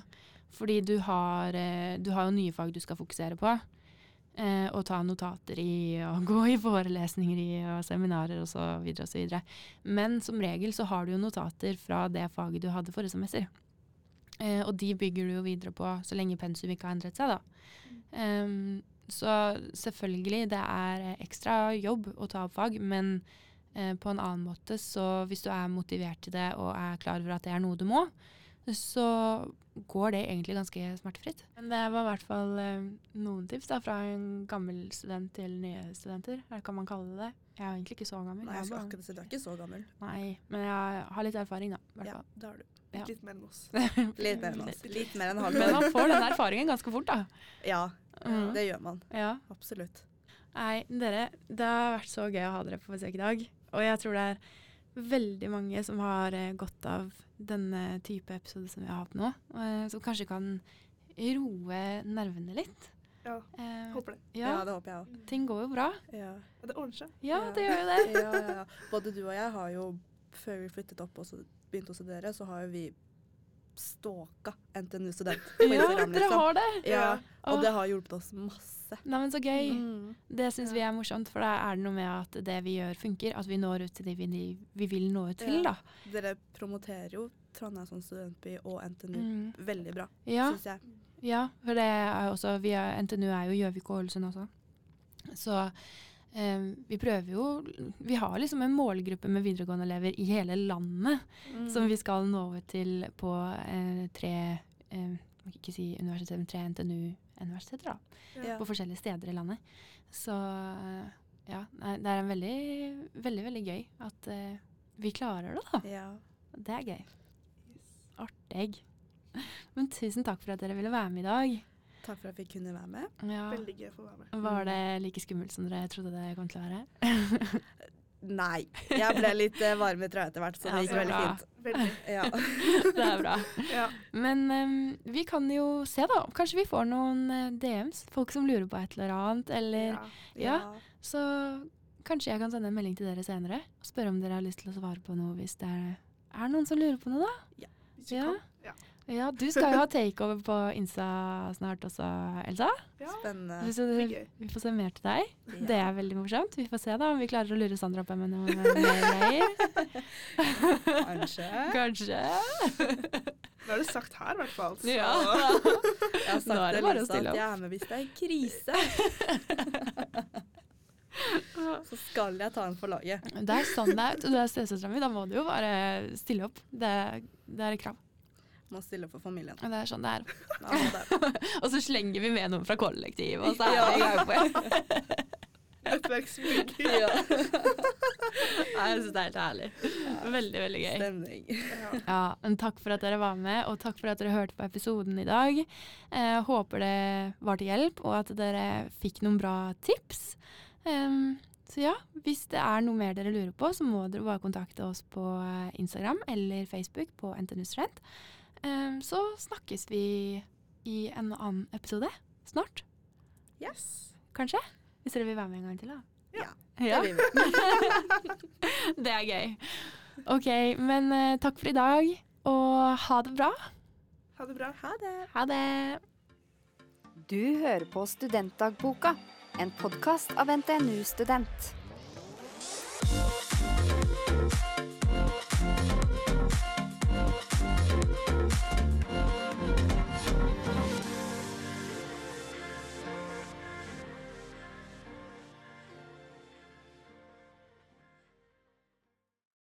Speaker 1: Fordi du har, eh, du har jo nye fag du skal fokusere på. eh, og ta notater i, og gå i forelesninger i, og seminarer og så videre og så videre. Men som regel så har du jo notater fra det faget du hadde forrige semester. Eh, og de bygger du jo videre på så lenge pensum ikke har endret seg, da. Ehm, så selvfølgelig, det er eh, ekstra jobb å ta opp fag, men eh, på en annen måte. Så hvis du er motivert til det og er klar over at det er noe du må, så går det egentlig ganske smertefritt. Men det var i hvert fall eh, noen tips da, fra en gammel student til nye studenter. Eller kan man kalle det det? Jeg er jo egentlig ikke så gammel. jeg
Speaker 3: Nei,
Speaker 1: er
Speaker 3: jeg skal
Speaker 1: bare-
Speaker 3: akkurat si, du er ikke så gammel.
Speaker 1: Nei, men jeg har litt erfaring, da. i hvert
Speaker 3: Ja,
Speaker 1: fall.
Speaker 3: det har du.
Speaker 1: Ja.
Speaker 4: Litt mer enn oss.
Speaker 3: Litt mer enn oss. Litt mer enn
Speaker 1: Men
Speaker 3: halvår.
Speaker 1: man får den erfaringen ganske fort, da.
Speaker 3: Ja,
Speaker 1: Mm.
Speaker 3: det gjør man.
Speaker 1: Ja.
Speaker 3: Absolutt.
Speaker 1: Nei, dere, det har vært så gøy å ha dere på besøk i dag. Og jeg tror det er veldig mange som har eh, godt av denne type episode som vi har hatt nå. eh, som kanskje kan roe nervene litt.
Speaker 4: Ja,
Speaker 1: Eh,
Speaker 4: håper det.
Speaker 1: ja,
Speaker 3: Ja, det håper jeg òg.
Speaker 1: ting går jo bra.
Speaker 3: Ja.
Speaker 4: Ja, det ordner seg.
Speaker 1: Ja,
Speaker 3: Ja.
Speaker 1: det gjør jo det.
Speaker 3: Ja, ja, ja. Både du og jeg har jo, før vi flyttet opp og så begynte å studere, så har jo vi stalka NTNU Student på
Speaker 1: Ja,
Speaker 3: Instagram,
Speaker 1: dere
Speaker 3: liksom.
Speaker 1: har det.
Speaker 3: Ja,
Speaker 1: Åh.
Speaker 3: og det har hjulpet oss masse.
Speaker 1: Nei, men så gøy.
Speaker 3: Mm.
Speaker 1: Det syns
Speaker 4: Ja.
Speaker 1: vi er morsomt, for da er det noe med at det vi gjør, funker. At vi når ut til de vi, vi vil nå ut til,
Speaker 3: Ja.
Speaker 1: da.
Speaker 3: Dere promoterer jo Trondheim som studentby og NTNU
Speaker 1: Mm.
Speaker 3: veldig bra,
Speaker 1: Ja.
Speaker 3: syns jeg.
Speaker 1: Ja, for det er jo også, vi er, NTNU er jo Gjøvik og Ålesund også. Så eh, vi prøver jo Vi har liksom en målgruppe med videregående-elever i hele landet
Speaker 3: Mm.
Speaker 1: som vi skal nå ut til på eh, tre eh, jeg kan ikke si universitet, men tre NTNU-universiteter, da.
Speaker 3: ja.
Speaker 1: På forskjellige steder i landet. Så eh, ja, nei, det er en veldig, veldig, veldig gøy at eh, vi klarer det, da.
Speaker 3: ja.
Speaker 1: Det er gøy. Artig. Men tusen takk for at dere ville være med i dag.
Speaker 3: Takk for at vi kunne være med.
Speaker 1: Ja.
Speaker 4: Veldig gøy å få være med.
Speaker 1: Var det like skummelt som dere trodde det kom til å være?
Speaker 3: Nei. Jeg ble litt eh, varm i trøya etter hvert, så
Speaker 1: Ja,
Speaker 3: det gikk
Speaker 4: så
Speaker 3: veldig
Speaker 1: bra.
Speaker 3: fint.
Speaker 4: Veldig.
Speaker 3: Ja.
Speaker 1: det er bra.
Speaker 4: Ja.
Speaker 1: Men em, vi kan jo se, da. Kanskje vi får noen eh, DMs. Folk som lurer på et eller annet. Eller,
Speaker 4: ja.
Speaker 1: Ja. Så kanskje jeg kan sende en melding til dere senere og spørre om dere har lyst til å svare på noe hvis det er, er noen som lurer på noe, da.
Speaker 4: Hvis vi
Speaker 1: Ja.
Speaker 4: kan. Ja.
Speaker 1: Ja, du skal jo ha takeover på Insta snart også, Elsa.
Speaker 4: ja.
Speaker 3: Spennende.
Speaker 1: Så
Speaker 4: Det
Speaker 1: du,
Speaker 4: blir gøy.
Speaker 1: vi får se mer til deg. Det er veldig morsomt. Vi får se da om vi klarer å lure Sandra opp med noen mer greier.
Speaker 3: Kanskje.
Speaker 1: Kanskje.
Speaker 4: Nå er det sagt her, i hvert fall. så-
Speaker 1: Ja.
Speaker 3: Jeg
Speaker 1: Nå er
Speaker 3: har sagt
Speaker 1: det bare
Speaker 3: til
Speaker 1: å
Speaker 3: Lisa
Speaker 1: stille
Speaker 3: at
Speaker 1: opp.
Speaker 3: jeg er med hvis det er krise. Så skal jeg ta den for laget.
Speaker 1: Det er sånn det er. vet Du Du er stesøstera mi, da må du jo bare stille opp. Det, det er et krav.
Speaker 3: Må stille opp for familien.
Speaker 1: Og det er sånn det er.
Speaker 3: Ja, det er-
Speaker 1: Og så slenger vi med noen fra kollektivet, og så er
Speaker 3: Ja.
Speaker 1: vi i gang på igjen.
Speaker 4: Nettverksmygg.
Speaker 3: Ja.
Speaker 1: Nei, Jeg syns det er helt herlig. Veldig, veldig gøy.
Speaker 3: Stemning.
Speaker 4: Ja.
Speaker 1: Ja, men takk for at dere var med, og takk for at dere hørte på episoden i dag. Eh, håper det var til hjelp, og at dere fikk noen bra tips. Em, så ja, hvis det er noe mer dere lurer på, så må dere bare kontakte oss på eh, Instagram eller Facebook på NTNU Student. Em, Ehm, så snakkes vi i en annen episode snart,
Speaker 3: Yes.
Speaker 1: kanskje? Hvis dere vil være med en gang til, da.
Speaker 3: Ja.
Speaker 1: Ja,
Speaker 3: Det blir bra.
Speaker 1: det er gøy. OK, men eh, takk for i dag, og ha det bra.
Speaker 4: Ha det bra.
Speaker 3: Ha det.
Speaker 1: Ha det!
Speaker 2: Du hører på Studentdagboka, en podkast av NTNU Student.